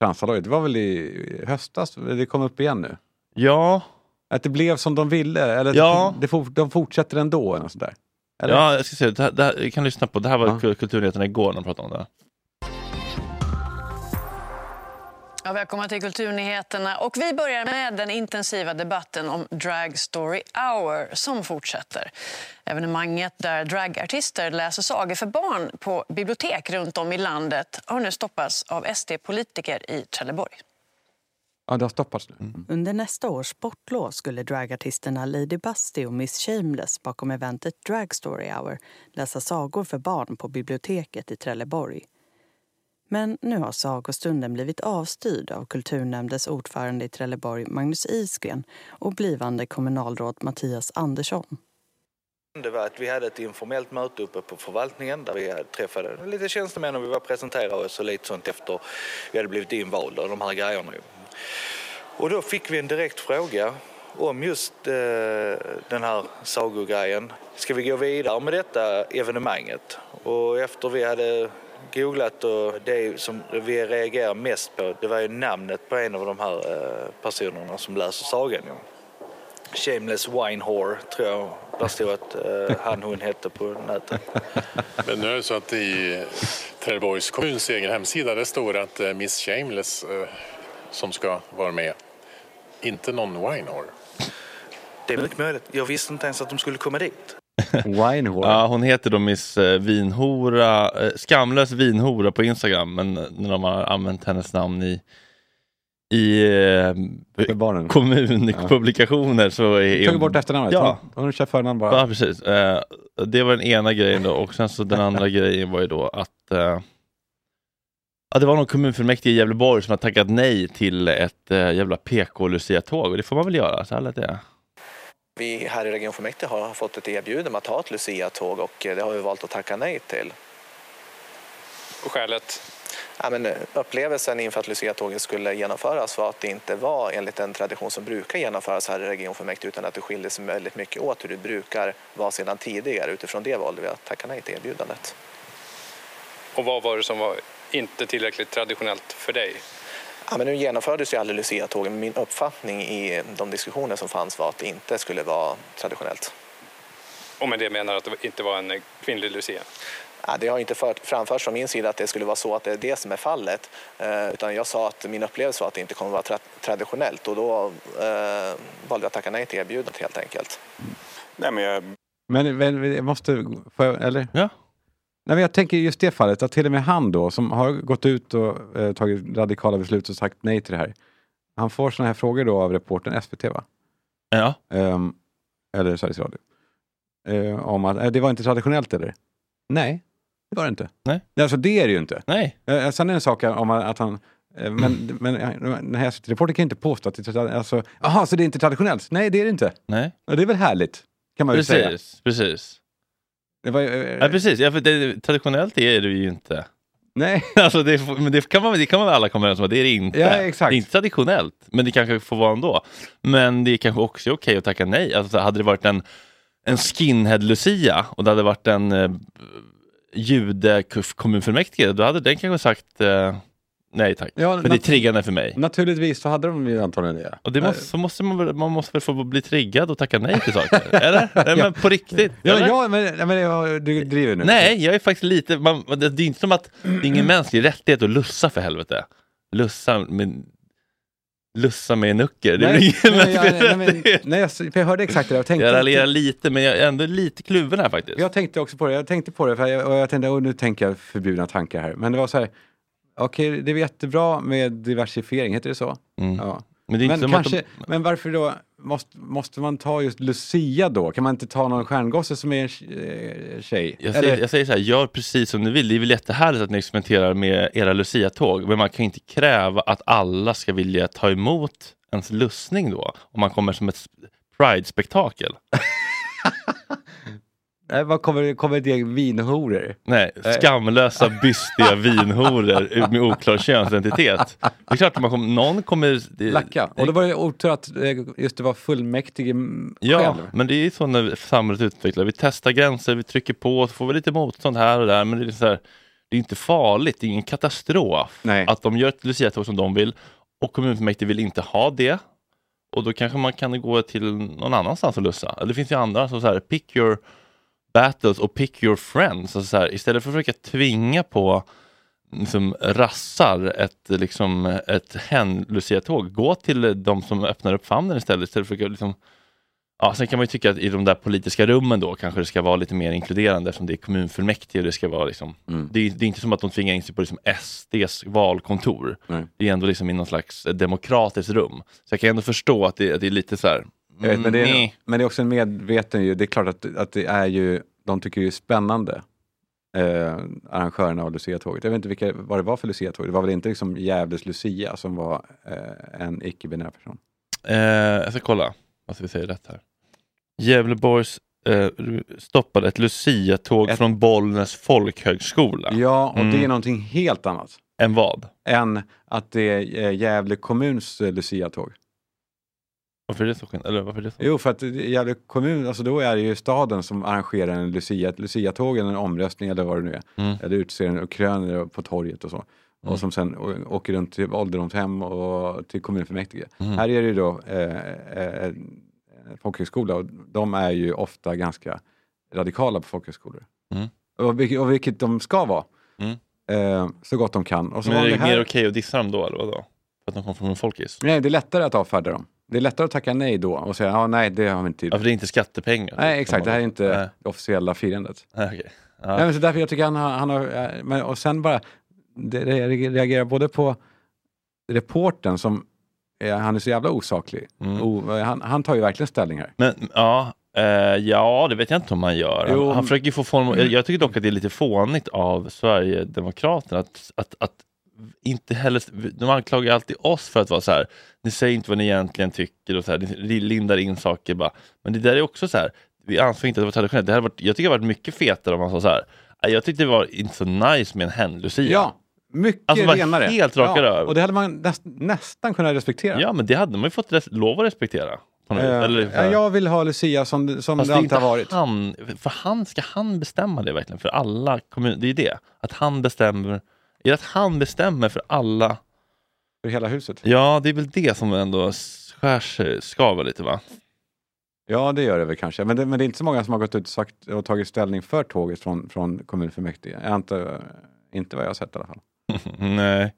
B: Transhalloj, det var väl i höstas? Det kom upp igen nu.
C: Ja,
B: Att det blev som de ville? Eller att
C: Ja.
B: det, for- de fortsätter ändå? Eller något sånt där. Eller?
C: ja, jag ska säga, det här, det här, vi kan lyssna på, det här var
B: Ja.
C: ja. Kulturnyheterna igår när de pratade om det.
I: Ja, välkomna till Kulturnyheterna. Och vi börjar med den intensiva debatten om Drag Story Hour som fortsätter. Evenemanget där dragartister läser sagor för barn på bibliotek runt om i landet har nu stoppats av SD-politiker i Trelleborg.
B: Ja, det har stoppats nu. (laughs) Mm.
J: Under nästa års sportlov skulle dragartisterna Lady Busty och Miss Shameless bakom eventet Drag Story Hour läsa sagor för barn på biblioteket i Trelleborg. Men nu har sagostunden blivit avstyrd av kulturnämndens ordförande i Trelleborg, Magnus Isgren och blivande kommunalråd Mattias Andersson.
K: Det var att vi hade ett informellt möte uppe på förvaltningen där vi träffade lite tjänstemän och vi var presenterade oss och lite sånt efter vi hade blivit invalda och de här grejerna. Och då fick vi en direkt fråga om just eh, den här sagogrejen. ska vi gå vidare med detta evenemanget? Och efter vi hade googlat och det som vi reagerade mest på det var ju namnet på en av de här eh, personerna som läser sagan. ju. Shameless Wine Whore tror jag där stod att eh, han hon hette på nätet.
L: Men nu är det så att i Trelleborgs kommuns egen hemsida där står det att eh, Miss Shameless eh, som ska vara med, inte någon winehore.
K: Det är mycket möjligt. Jag visste inte ens att de skulle komma dit.
B: Winehore.
C: Ja, hon heter då Miss eh, Vinhora, eh, skamlös vinhora på Instagram, men eh, när de har använt hennes namn i i eh, kommunpublikationer så är
B: Tog bort efternamnet.
C: Ja,
B: Hon, hon kör förnamn bara.
C: Ja, precis. Eh, det var den ena grejen då och sen så
B: (laughs)
C: den andra grejen var ju då att eh, ja, det var någon kommunfullmäktige i Gävleborg som har tackat nej till ett eh, jävla PK-Lucia-tåg och det får man väl göra, så här lät det.
M: Vi här i regionfullmäktige har fått ett erbjudande om att ha ett Lucia-tåg och eh, det har vi valt att tacka nej till. Och skälet? Ja, men upplevelsen inför att Lucia-tåget skulle genomföras var att det inte var enligt den tradition som brukar genomföras här i regionfullmäktige utan att det skilde sig väldigt mycket åt hur det brukar vara sedan tidigare. Utifrån det valde vi att tacka nej till erbjudandet.
N: Och vad var det som var inte tillräckligt traditionellt för dig?
M: Ja, men nu genomfördes ju aldrig Lucia-tågen men min uppfattning i de diskussioner som fanns var att det inte skulle vara traditionellt.
N: Och med det menar att det inte var en kvinnlig Lucia?
M: Ja, det har inte fört, framförts från min sida att det skulle vara så att det är det som är fallet. Eh, utan jag sa att min upplevelse var att det inte kommer att vara tra- traditionellt och då eh, valde jag att tacka nej till erbjudandet helt enkelt.
N: Nej, men jag...
B: Men, men jag måste, får jag, eller?
C: Ja.
B: Nej, men jag tänker just det fallet, att till och med han då, som har gått ut och eh, tagit radikala beslut och sagt nej till det här. Han får såna här frågor då av reportern SVT, va?
C: Ja.
B: Ehm, eller Sveriges Radio. Ehm, om att, eh, det var inte traditionellt eller? Nej, det var det inte.
C: Nej.
B: Alltså det är det ju inte.
C: Nej.
B: Eh, sen är det en sak om att han eh, men, men eh, den här SVT-reportern kan ju inte påstå att det är tradi- alltså, aha, så det är inte traditionellt. Nej, det är det inte.
C: Nej.
B: Ja, det är väl härligt, kan man ju säga.
C: Precis, precis.
B: Det var, ju, eh,
C: Ja, precis. Ja, för det, traditionellt är det ju inte. (laughs)
B: Nej.
C: Alltså det, får- men det kan, man, det kan man väl alla komma överens om att det är det inte.
B: Ja, exakt.
C: Det är inte traditionellt, men det kanske får vara ändå. Men det är kanske också är okej att tacka nej. Alltså, hade det varit en, en skinhead-lucia och det hade varit en eh, jude-kommunfullmäktige, då hade den kanske sagt eh, nej tack.
B: Ja,
C: för det är
B: nat-
C: triggande för mig.
B: Naturligtvis så hade de ju antagligen det.
C: Och det måste, så måste man, väl- man måste väl få bli triggad och tacka nej
B: (laughs)
C: till saker? eller? Nej, men på riktigt?
B: Ja,
C: eller?
B: men, ja, men, ja, men jag, du driver nu.
C: Nej, jag är faktiskt lite... Man, det, det är inte som att det
B: (clears throat)
C: är ingen mänsklig rättighet att lussa för helvete. Lussa med, lussa med nucker. Det är väl
B: Nej,
C: ingen
B: nej, jag-
C: mänsklig
B: nej,
C: rättighet.
B: men- nej, jag, för jag hörde exakt det där och tänkte...
C: Jag
B: att-
C: raljerar lite, men jag är ändå lite kluven här faktiskt.
B: Jag tänkte också på det. Jag tänkte på det för jag, och jag tänkte, oh, nu tänker jag förbjudna tankar här. Men det var så här, okej, det är jättebra med diversifiering, heter det så? Ja.
C: Men Mm. det är inte som att de-
B: kanske, men varför då, måste, måste man ta just Lucia då? Kan man inte ta någon stjärngosse som är eh, tjej?
C: Jag
B: Eller-
C: säger, jag säger så här, gör precis som ni vill. Det är väl jättehärligt att ni experimenterar med era Lucia-tåg, men man kan ju inte kräva att alla ska vilja ta emot ens lussning då, om man kommer som ett sp- Pride-spektakel.
B: Nej, eh, vad kommer, kommer det vinhoror?
C: Nej,
B: Nej.
C: skamlösa, bystiga vinhoror med oklar könsidentitet. Det är klart att man kommer, någon kommer... Det,
B: Lacka. Och då var det otur att eh, just det var fullmäktige mm,
C: Ja,
B: själv.
C: men det är ju så när samhället utvecklar. Vi testar gränser, vi trycker på, så får vi lite motstånd här och där. Men det är, så här, det är inte farligt, det är ingen katastrof att de gör ett luciatåg som de vill och kommunfullmäktige vill inte ha det. Och då kanske man kan gå till någon annanstans och lussa. Eller Det finns ju andra, så så här, pick your battles och pick your friends. Alltså så här, istället för att försöka tvinga på liksom, rassar ett, liksom, ett hen-luciatåg, gå till de som öppnar upp famnen istället. istället för att försöka, liksom, Ja, sen kan man ju tycka att i de där politiska rummen då kanske det ska vara lite mer inkluderande eftersom det är kommunfullmäktige och det ska vara liksom,
B: Mm.
C: det, är, det är inte som att de tvingar in sig på liksom SDs valkontor. Det är ändå liksom i någon slags demokratiskt rum. Så jag kan ändå förstå att det, att det är lite så här, mm,
B: Jag vet, men, det är,
C: nej.
B: men det är också en medveten ju, det är klart att, att det är ju, de tycker ju det är spännande, eh, arrangörerna av Lucia-tåget. Jag vet inte vilka, vad det var för Lucia-tåg, det var väl inte liksom Gävles Lucia som var eh, en icke-binär person?
C: Eh, jag ska kolla vad vi säger rätt här. Gävleborgs eh, stoppade ett Lucia-tåg från Bollnäs folkhögskola.
B: Ja, och det är
C: Mm.
B: någonting helt annat.
C: Än vad?
B: Än att det är eh, Gävle kommuns eh, Lucia-tåg.
C: Varför är det så? sken- Eller varför är det så?
B: Jo, för att Gävle kommun, alltså då är det ju staden som arrangerar en Lucia, Luciatåg eller en omröstning eller vad det nu är.
C: Mm.
B: Eller utser en och kröner på torget och så.
C: Mm.
B: Och som sen å- åker runt till ålderdomshem och till kommunfullmäktige.
C: Mm.
B: Här är det ju då eh, eh, en folkhögskola och de är ju ofta ganska radikala på folkhögskolor.
C: Mm.
B: Och, vilket, och vilket de ska vara.
C: Mm.
B: Eh, så gott de kan. Och så
C: Men
B: har
C: är
B: vi
C: det
B: här-
C: mer okej att dissa dem då, eller vadå? För att de kom från en folkis?
B: Nej, det är lättare att avfärda dem. Det är lättare att tacka nej då och säga ja, nej, det har vi inte tid
C: Ja, för det är inte skattepengar.
B: Nej, exakt. Det här är inte
C: Nej.
B: det officiella firandet.
C: Nej, okej. Ja.
B: Nej, men så därför jag tycker han har... Han har eh, men, och sen bara, det, det, jag reagerar både på reporten som är, han är så jävla osaklig. O, han, han tar ju verkligen ställning här.
C: Men Mm. ja, eh, ja, det vet jag inte om han gör. Han,
B: Jo, Mm.
C: han försöker ju få form jag, jag tycker dock att det är lite fånigt av Sverigedemokraterna att, att, att inte heller, de anklagar ju alltid oss för att vara så här, ni säger inte vad ni egentligen tycker och så här, ni lindar in saker bara. Men det där är också så här, vi ansåg inte att det var traditionellt. Det hade varit, jag tycker det hade varit mycket fetare om man sa så här, "Nej, jag tyckte det var inte så nice med en hen-lucia.
B: Ja, mycket
C: Alltså bara
B: renare.
C: helt raka
B: Ja,
C: rör.
B: Och det hade man näst, nästan kunnat respektera.
C: Ja, men det hade man ju fått res- lov att respektera. På något
B: Eh,
C: vis. Eller,
B: ja, jag vill ha Lucia som, som det alltid har varit.
C: han, för han, ska han bestämma det verkligen för alla kommuner? Det är ju det, att han bestämmer, är det att han bestämmer för alla?
B: För hela huset?
C: Ja, det är väl det som ändå skär sig, skaver lite va? (laughs)
B: Ja, det gör det väl kanske. Men det, men det är inte så många som har gått ut och, sagt, och tagit ställning för tåget från, från kommunfullmäktige. Jag har inte, inte vad jag har sett i alla fall.
C: Nej.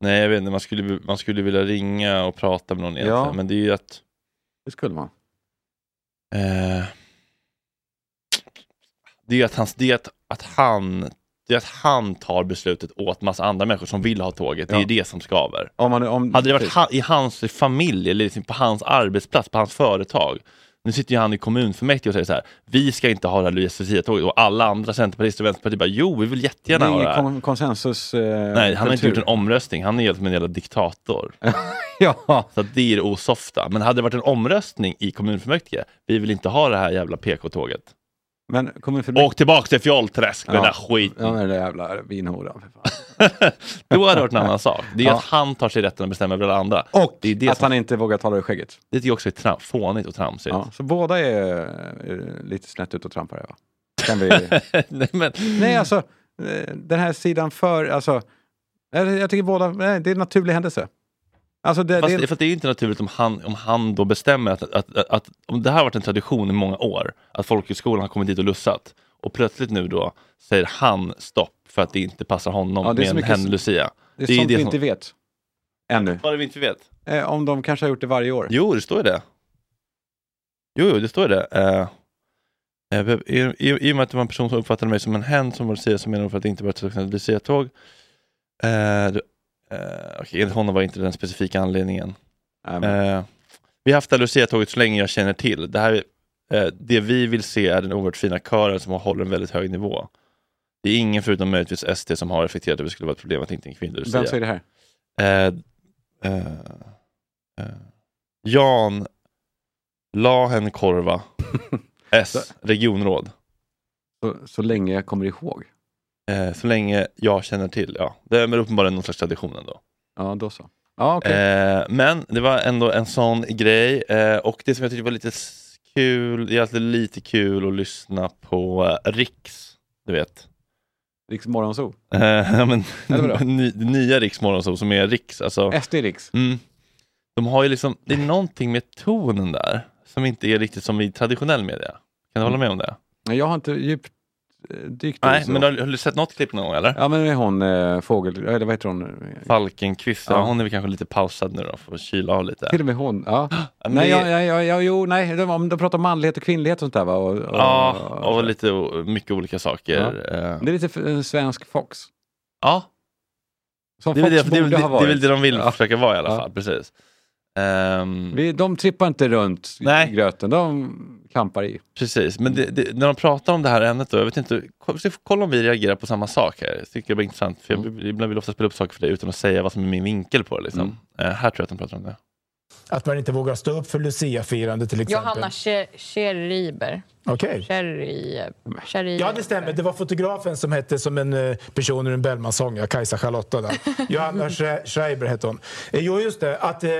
C: Nej, jag vet inte, man skulle, man skulle vilja ringa och prata med någon egentligen, men det är ju att...
B: Det skulle man.
C: Eh, det är ju att, han, det är att, att han det är att han tar beslutet åt massa andra människor som vill ha tåget. Det
B: Ja.
C: är det som skaver.
B: Om man, om, typ.
C: Hade det varit
B: precis.
C: ha, i hans familj eller liksom på hans arbetsplats, på hans företag. Nu sitter ju han i kommunfullmäktige och säger så här, vi ska inte ha det här Lucia-tåget och alla andra centerpartister och vänsterpartister bara, jo, vi vill jättegärna
B: det
C: ha
B: är
C: det
B: ingen
C: här.
B: kon- konsensus eh,
C: eh? Nej, han har inte
B: kultur. (laughs)
C: gjort en omröstning. Han är helt med en jävla diktator.
B: ja.
C: Så att det är det osofta. Men hade det varit en omröstning i kommunfullmäktige, vi vill inte ha det här jävla PK-tåget.
B: Men kommunfullmäktige...
C: Åk tillbaka till Fjollträsk, den
B: Ja.
C: där skiten. (laughs)
B: Ja, men det där jävla vinhoran. för fan.
C: Då hade det varit en annan sak. Det är
B: Ja.
C: att han tar sig rätten att bestämma över alla andra.
B: Och
C: det är det
B: att
C: som-
B: han inte vågar tala ur skägget.
C: Det tycker jag också är tram, fånigt och tramsigt.
B: Ja, så båda är eh, lite snett ut och trampar här, va? Kan vi...
C: (laughs) (laughs) nej, men...
B: nej, alltså, eh, den här sidan för... Alltså, jag, jag tycker båda... Nej, det är en naturlig händelse. Alltså det,
C: Fast,
B: det,
C: För det är ju inte naturligt om han, om han då bestämmer att, att, att, att om det här har varit en tradition i många år, att folkhögskolan har kommit dit och lussat och plötsligt nu då säger han stopp för att det inte passar honom
B: Ja, det är så
C: med en
B: mycket-
C: hen-lucia.
B: det är sånt vi inte vet. Ännu.
C: Vad är det vi inte vet?
B: Eh, om de kanske har gjort det varje år.
C: Jo, det står ju det. Jo, jo, det står ju det. Eh, eh, i, i, I och med att det var en person som uppfattade mig som en hen som var lucia så menar hon för att det inte var ett traditionellt luciatåg. Eh, det- eh, Okej, enligt honom var inte den specifika anledningen.
B: Ehm,
C: Eh, vi har haft det här luciatåget så länge jag känner till. Det, här, eh, det vi vill se är den oerhört fina kören som håller en väldigt hög nivå. Det är ingen förutom möjligtvis SD som har reflekterat över att det skulle vara ett problem att inte en kvinnlig lucia.
B: Vem säger det
C: här? Eh, eh, eh, Jan Lahenkorva, S, regionråd.
B: Så, så länge jag kommer ihåg.
C: Eh, så länge jag känner till, ja. Det är väl uppenbarligen någon slags tradition ändå.
B: Ja, då så. Ja, okej.
C: Eh, men det var ändå en sån grej. Eh, och det som jag tyckte var lite s- kul, det är alltid lite kul att lyssna på eh, Riks, du vet.
B: Riks Morgonzoo.
C: Eh, (laughs) ja, men,
B: Eller vadå?
C: ny, nya Riks Morgonzoo som är Riks. Alltså,
B: SD Riks.
C: Mm, de har ju liksom, det är någonting med tonen där som inte är riktigt som i traditionell media. Kan du hålla med om det?
B: Nej, Jag har inte djupt eh, dykt
C: Nej,
B: Mm. så.
C: men har, har du sett något klipp någon gång eller?
B: Ja, men det är hon eh, fågel... Eller vad heter hon?
C: Falkenkvist, ja.
B: Ja.
C: hon är väl kanske lite pausad nu då, för att kyla av lite.
B: Till och med hon.
C: (gasps)
B: Ja.
C: men
B: nej,
C: det-
B: jag, jag, jag, jag, jo, nej, de, om de pratar om manlighet och kvinnlighet och sånt där va? Och, och,
C: Ja, och lite o- mycket olika
B: Ja.
C: saker. Eh,
B: Det är lite f- en svensk Fox.
C: Ja.
B: Som
C: det, är väl
B: Fox
C: det, det, är väl
B: borde ha
C: det, det är väl
B: varit.
C: det de vill
B: Ja.
C: försöka vara i alla
B: Ja.
C: fall. Precis. Ehm,
B: Vi, de trippar inte runt i gröten, de klampar i.
C: precis. Men det, det, när de pratar om det här ämnet, då, jag vet inte, ko- vi ska kolla om vi reagerar på samma sak här. Jag tycker det var intressant, för jag
B: Mm.
C: ibland vill ofta spela upp saker för dig utan att säga vad som är min vinkel på det. Liksom.
B: Mm.
C: Eh, här tror jag att de pratar om det.
O: Att man inte vågar stå upp för Lucia-firande till exempel.
P: Johanna Sche- Scheriber.
O: Okej.
P: Scheri- Scheriber.
O: Ja, det stämmer. Det var fotografen som hette som en eh, person ur en Bellmansång, ja, Kajsa Charlotta. Där. Johanna Schre- Schreiber hette hon. Eh, Jo, just det. Att, eh,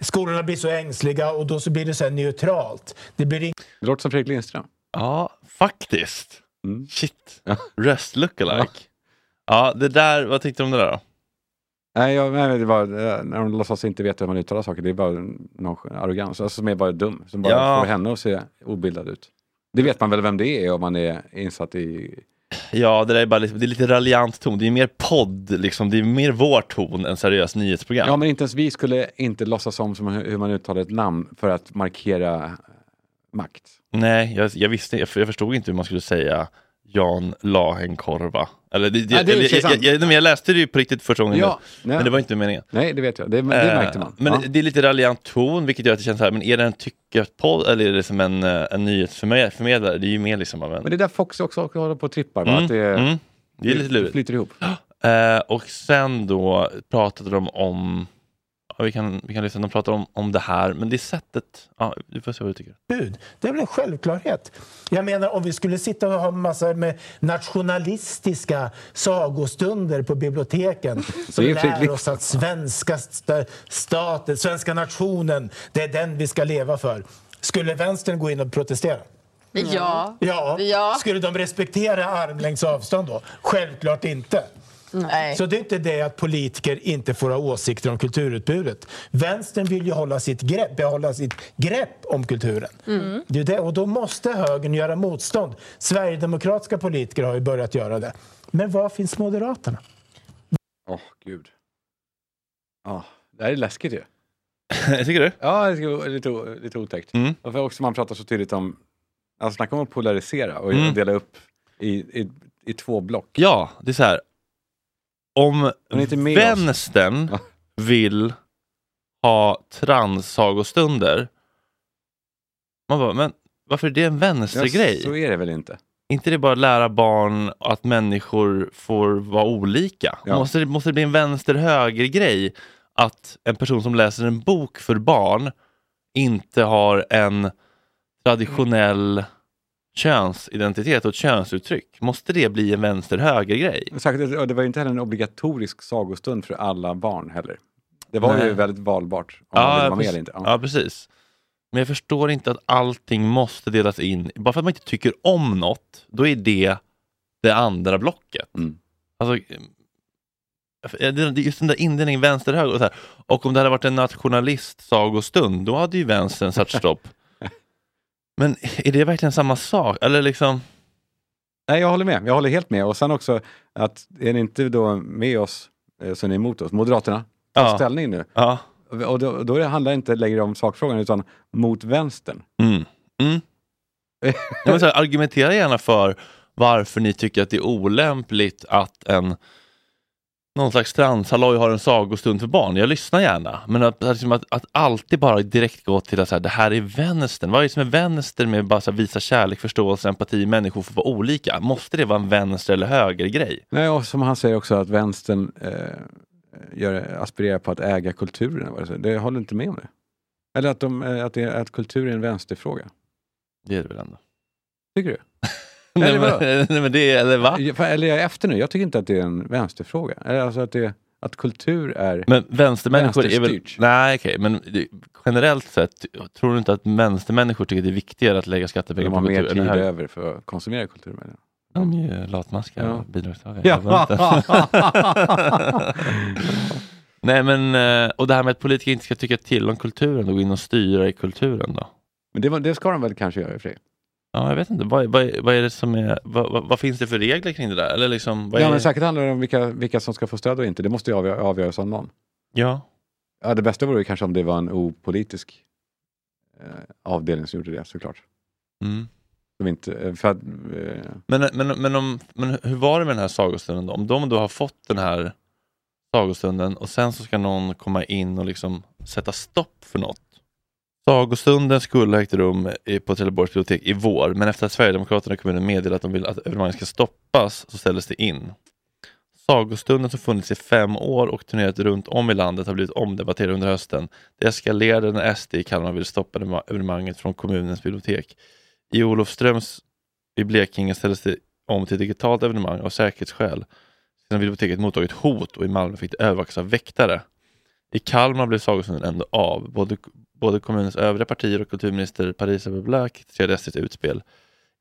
O: skolorna blir så ängsliga och då så blir det så här neutralt. Det blir ing-
B: Det låter som Fredrik Lindström.
C: Ja, faktiskt.
B: Mm.
C: Shit. Röst lookalike. Ja, det där, vad tyckte du om det där då?
B: Nej, jag, nej, det var när de låtsas inte veta hur man uttalar saker. Det är bara någon arrogans alltså, som är bara dum. Som bara
C: Ja.
B: får henne att se obildad ut. Det vet man väl vem det är om man är insatt i...
C: Ja, det där är bara lite, det är lite raljant ton. Det är mer podd, liksom. det är mer vår ton än seriöst nyhetsprogram.
B: Ja, men inte ens vi skulle inte låtsas om som hur hur man uttalar ett namn för att markera makt.
C: Nej, jag, jag visste jag, jag förstod inte hur man skulle säga Jan Lahenkorva. Eller, det,
B: Ja, det är i och för sig
C: eller, jag,
B: sant.
C: jag, jag, nej, men jag läste det ju på riktigt första gången
B: Ja,
C: nu,
B: ja.
C: men det var inte meningen.
B: Nej, det vet jag. Det, det märkte
C: Eh,
B: man.
C: Men
B: Ja.
C: det, det är lite raljant ton, vilket gör att det känns så här, men är det en tyckepodd eller är det som en, eh, en nyhetsförmedlare? Det är ju mer liksom av en...
B: Men det är där Fox också håller på och trippar. Va?
C: Mm,
B: Att det,
C: mm. Det är lite lurigt.
B: flyter ihop.
C: Eh, och sen då pratade de om, ja, vi kan, vi kan lyssna, de pratade om, om det här, men det är sättet, ja, du får se vad du tycker. (laughs)
O: bud. Det är väl en självklarhet. Jag menar, om vi skulle sitta och ha massor med nationalistiska sagostunder på biblioteken som
B: Det är ju
O: lär
B: Fredrik.
O: oss att svenska st- staten, svenska nationen, det är den vi ska leva för. Skulle vänstern gå in och protestera?
P: Mm. Ja.
O: Ja. Skulle de respektera armlängds avstånd då? Självklart inte.
P: Nej.
O: Så det är inte det att politiker inte får ha åsikter om kulturutbudet. Vänstern vill ju hålla sitt grepp, behålla sitt grepp om kulturen.
P: Mm.
O: Det är det, och då måste högern göra motstånd. Sverigedemokratiska politiker har ju börjat göra det. Men var finns Moderaterna?
B: Åh, gud. Ja, det här är läskigt ju.
C: Tycker du?
B: Ja, det är lite, o- lite otäckt.
C: Mm.
B: Varför också man pratar så tydligt om... Alltså, snacka om att polarisera och
C: Mm.
B: dela upp i, i, i två block.
C: Ja, det är så här. Om
B: Hon är inte med oss.
C: vänstern vill ha transsagostunder, man bara, men varför är det en vänstergrej?
B: Ja, så är det väl inte.
C: inte det bara att lära barn att människor får vara olika?
B: Ja.
C: Måste, det, måste det bli en vänster-höger-grej att en person som läser en bok för barn inte har en traditionell könsidentitet och ett könsuttryck? Måste det bli en vänster-höger-grej?
B: Särskilt, och det var ju inte heller en obligatorisk sagostund för alla barn heller. Det var
C: Nej.
B: ju väldigt valbart om man ville vara med
C: precis.
B: eller inte.
C: Ja. precis. Men jag förstår inte att allting måste delas in. Bara för att man inte tycker om något, då är det det andra blocket. Alltså, eh, det- det- just den där indelningen vänster-höger. Och, så här. och om det hade varit en nationalist-sagostund, då hade ju vänstern satt stopp. Men är det verkligen samma sak? Eller liksom...
B: Nej, jag håller med. Jag håller helt med. Och sen också att är ni inte då med oss eh, så är ni emot oss. Moderaterna, ta
C: Ja.
B: ställning nu.
C: Ja.
B: Och då, då handlar det inte längre om sakfrågan utan mot vänstern.
C: Mm. Mm. Ja, men så här, argumentera gärna för varför ni tycker att det är olämpligt att en någon slags transhalloj har en sagostund för barn. Jag lyssnar gärna. Men att, att liksom att, att alltid bara direkt gå till att så här, det här är vänstern. Vad är det som är vänster med bara så här, visa kärlek, förståelse, empati, människor får vara olika? Måste det vara en vänster eller höger-grej?
B: Nej, och som han säger också att vänstern eh, gör, aspirerar på att äga kulturen. eller vad det säger. Det håller inte med om det. Eller att, de, eh, att, det, är- att kultur är en vänsterfråga.
C: Det är det väl ändå.
B: Tycker du?
C: Nej,
B: Eller vadå?
C: men, (laughs) nej, men det, eller va?
B: Jag- Eller jag är efter nu, jag tycker inte att det är en vänsterfråga. Eller Alltså att, det, att kultur är...
C: Men vänstermänniskor är väl...
B: Vänsterstyrt.
C: Nej, okej, men det, generellt sett, tror du inte att vänstermänniskor tycker det är viktigare att lägga
B: De
C: skattepengar på
B: har mer
C: kultur?
B: tid
C: än höger?
B: över för att konsumera kultur. menar jag.
C: De är ju latmaskar
B: Ja.
C: och bidragstagare.
B: Ja.
C: (laughs) Nej, men, eh, och det här med att politiker inte ska tycka till om kulturen och gå in och styra i kulturen då?
B: Men det, var- det ska de väl kanske göra i och för sig.
C: Ja, jag vet inte. Vad, vad, vad är det som är... Vad, vad, vad finns det för regler kring det där? Eller liksom, vad
B: Ja,
C: är,
B: men säkert handlar det om vilka, vilka som ska få stöd och inte. Det måste ju avgö- avgöras av någon.
C: Ja.
B: Ja, det bästa vore ju kanske om det var en opolitisk eh, avdelning som gjorde det, såklart.
C: Mm.
B: Som inte, eh, för att, eh,
C: Men, men, men, om, men hur var det med den här sagostunden då? Om de då har fått den här sagostunden och sen så ska någon komma in och liksom sätta stopp för något. Sagostunden skulle ha ägt rum i- på Trelleborgs bibliotek i vår, men efter att Sverigedemokraterna och kommunen meddelat att de vill att evenemanget ska stoppas så ställdes det in. Sagostunden som funnits i fem år och turnerat runt om i landet har blivit omdebatterad under hösten. Det eskalerade när SD i Kalmar ville stoppa evenem- evenemanget från kommunens bibliotek. I Olofströms i Blekinge ställdes det om till ett digitalt evenemang av säkerhetsskäl. Sedan biblioteket mottagit hot och i Malmö fick det övervakas av väktare. I Kalmar blev sagostunden ändå av. Både, både kommunens övriga partier och kulturminister Parisa Abibullah kritiserade SDs utspel.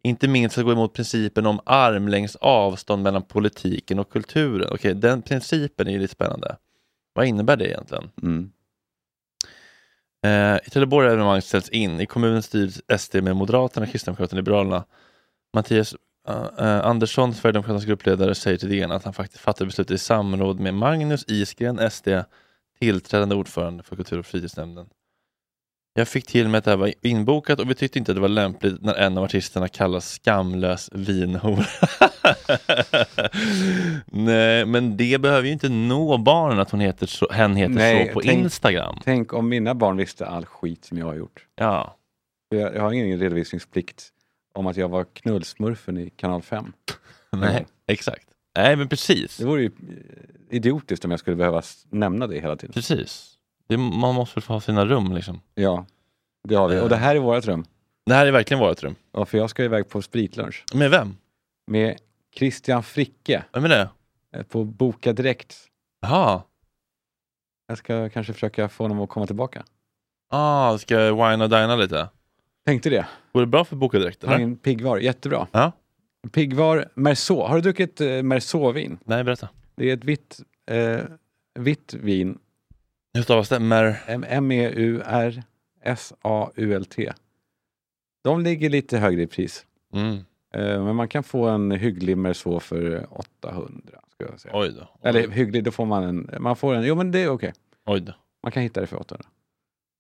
C: Inte minst för att gå emot principen om armlängds avstånd mellan politiken och kulturen. Okej, den principen är ju lite spännande. Vad innebär det egentligen?
B: Mm.
C: Eh, I Trelleborg har evenemang ställts in. I kommunen styrs SD med Moderaterna, Kristdemokraterna och Liberalerna. Mattias eh, eh, Andersson, Sverigedemokraternas gruppledare, säger till DN att han faktiskt fattar beslutet i samråd med Magnus Isgren, SD, tillträdande ordförande för kultur och fritidsnämnden. Jag fick till mig att det här var inbokat och vi tyckte inte att det var lämpligt när en av artisterna kallas skamlös vinhora. (laughs) Nej, men det behöver ju inte nå barnen att hon heter så, hen heter så på Instagram.
B: Tänk om mina barn visste all skit som jag har gjort.
C: Ja.
B: Jag, jag har ingen redovisningsplikt om att jag var knullsmurfen i kanal 5.
C: Nej, exakt. Nej, men precis.
B: Det vore ju eh, idiotiskt om jag skulle behöva s- nämna det hela tiden.
C: Precis. Det, man måste få ha sina rum liksom.
B: Ja, det har vi. Och det här är vårt rum.
C: Det här är verkligen vårt rum.
B: Ja, för jag ska iväg på spritlunch.
C: Med vem?
B: Med Christian Fricke. eh,
C: Vem är det?
B: På Boka Direkt.
C: Jaha.
B: Jag ska kanske försöka få honom att komma tillbaka.
C: Ah, ska jag wine och dina lite?
B: Tänkte det.
C: Går det bra för Boka Direkt?
B: Han är
C: Eller?
B: en piggvar, jättebra.
C: Ja.
B: Piggvar Merceau. Har du druckit eh, Merceau-vin?
C: Nej, berätta.
B: Det är ett vitt, eh, vitt vin.
C: Hur stavas det? Mer...
B: E M-E-U-R-S-A-U-L-T. De ligger lite högre i pris.
C: Mm.
B: Eh, men man kan få en hygglig Merceau för 800. Ska jag säga.
C: Oj då.
B: Eller hygglig, då får man en... Man får en jo, men det är okej.
C: Oj då.
B: Man kan hitta det för 800.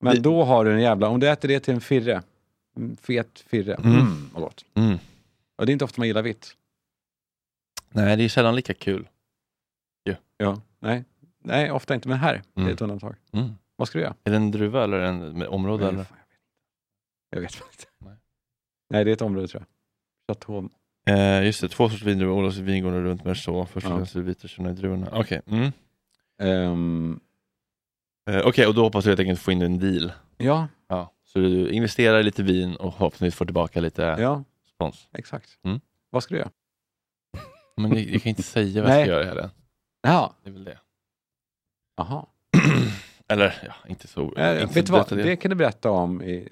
B: Men då har du en jävla... Om du äter det till en firre, en fet firre,
C: Mm.
B: mm, vad gott.
C: Mm.
B: Och det är inte ofta man gillar vitt.
C: Nej, det är sällan lika kul.
B: Ja. Nej. Nej, ofta inte. Men här, det
C: Mm.
B: är ett undantag.
C: Mm.
B: Vad ska du göra?
C: Är det en druva eller en med område?
B: Nej,
C: Eller?
B: fan, Jag vet faktiskt inte. Nej. det är ett område tror jag. Chateau.
C: Eh, just det, två sorters vindruvor. Olofs vingårdar runt Merceau. Först och
B: Ja.
C: främst vita Chardonnay-druvorna. Okej. Mm.
B: Ehm,
C: Eh, Okej, och då hoppas du helt enkelt få in en deal.
B: Ja.
C: ja. Så du investerar i lite vin och förhoppningsvis får tillbaka lite
B: Ja.
C: spons.
B: Exakt.
C: Mm.
B: Vad ska du göra?
C: Men jag, jag kan inte säga vad jag
B: Nej.
C: ska göra heller.
B: Ja.
C: Det är väl det.
B: Jaha.
C: Eller ja, inte så...
B: Eh,
C: inte
B: vet
C: så
B: du vad?
C: detaljerat.
B: Det kan du berätta om i,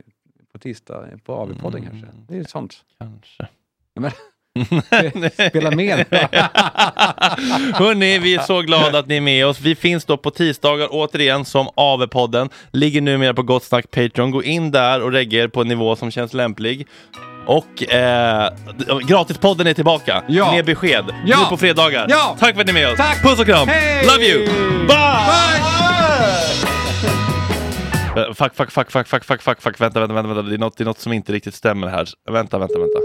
B: på tisdag på AV-podden kanske. Det är ju sånt.
C: Kanske. (laughs)
B: Men, spela med nu.
C: Hörni, vi är så glada att ni är med oss. Vi finns då på tisdagar återigen som AV-podden. Ligger numera på Gott Snack Patreon. Gå in där och regga er på en nivå som känns lämplig. Och eh, gratispodden är tillbaka med besked
B: Ja.
C: nu på fredagar.
B: Ja.
C: Tack för att ni är med oss.
B: Tack.
C: Puss och kram.
B: Hej.
C: Love you.
B: Bye.
C: Eh, Fuck, fuck, fuck, fuck, fuck, fuck, fuck, fuck. Vänta, vänta, vänta. vänta. Det, är något, det är något som inte riktigt stämmer här. Vänta, vänta, vänta.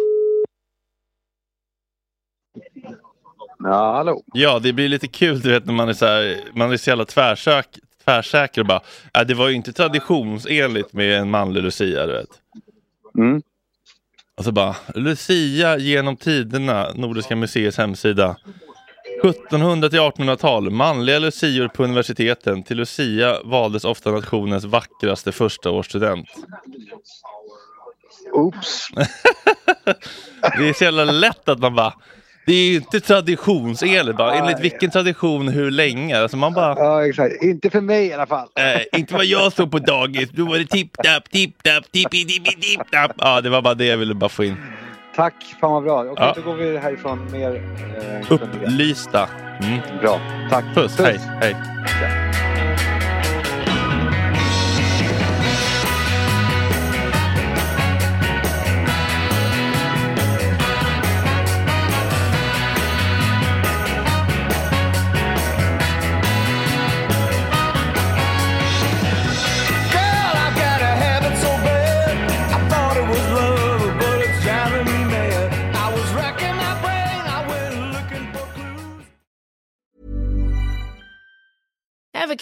I: Ja, hallå.
C: Ja, det blir lite kul du vet när man är så, här, man är så jävla tvärsök, tvärsäker och bara äh, det var ju inte traditionsenligt med en manlig Lucia, du vet.
I: Mm.
C: Och så bara Lucia genom tiderna, Nordiska museets hemsida. 1700 till 1800-tal, manliga lucior på universiteten. Till Lucia valdes ofta nationens vackraste förstaårsstudent.
I: Oops.
C: Det är så jävla lätt att man bara det är ju inte traditionsenligt bara. Enligt vilken tradition, hur länge? Alltså man bara...
I: Ja, exakt. Inte för mig i alla fall.
C: Eh, inte vad jag såg på dagis. Då var det tipp-tapp, tipp-tapp, tippi-tippi-tipp-tapp. Ja, det var bara det jag ville bara få in.
I: Tack, fan vad bra. Okej,
C: Ja.
I: då går vi härifrån mer... Eh,
C: Upplysta. Mm.
I: Bra. Tack.
C: Puss. Hej. Hej.
D: Girl, I got a habit so bad. I thought it was love, but it's driving me mad. I was racking my brain, I went looking for
G: Ever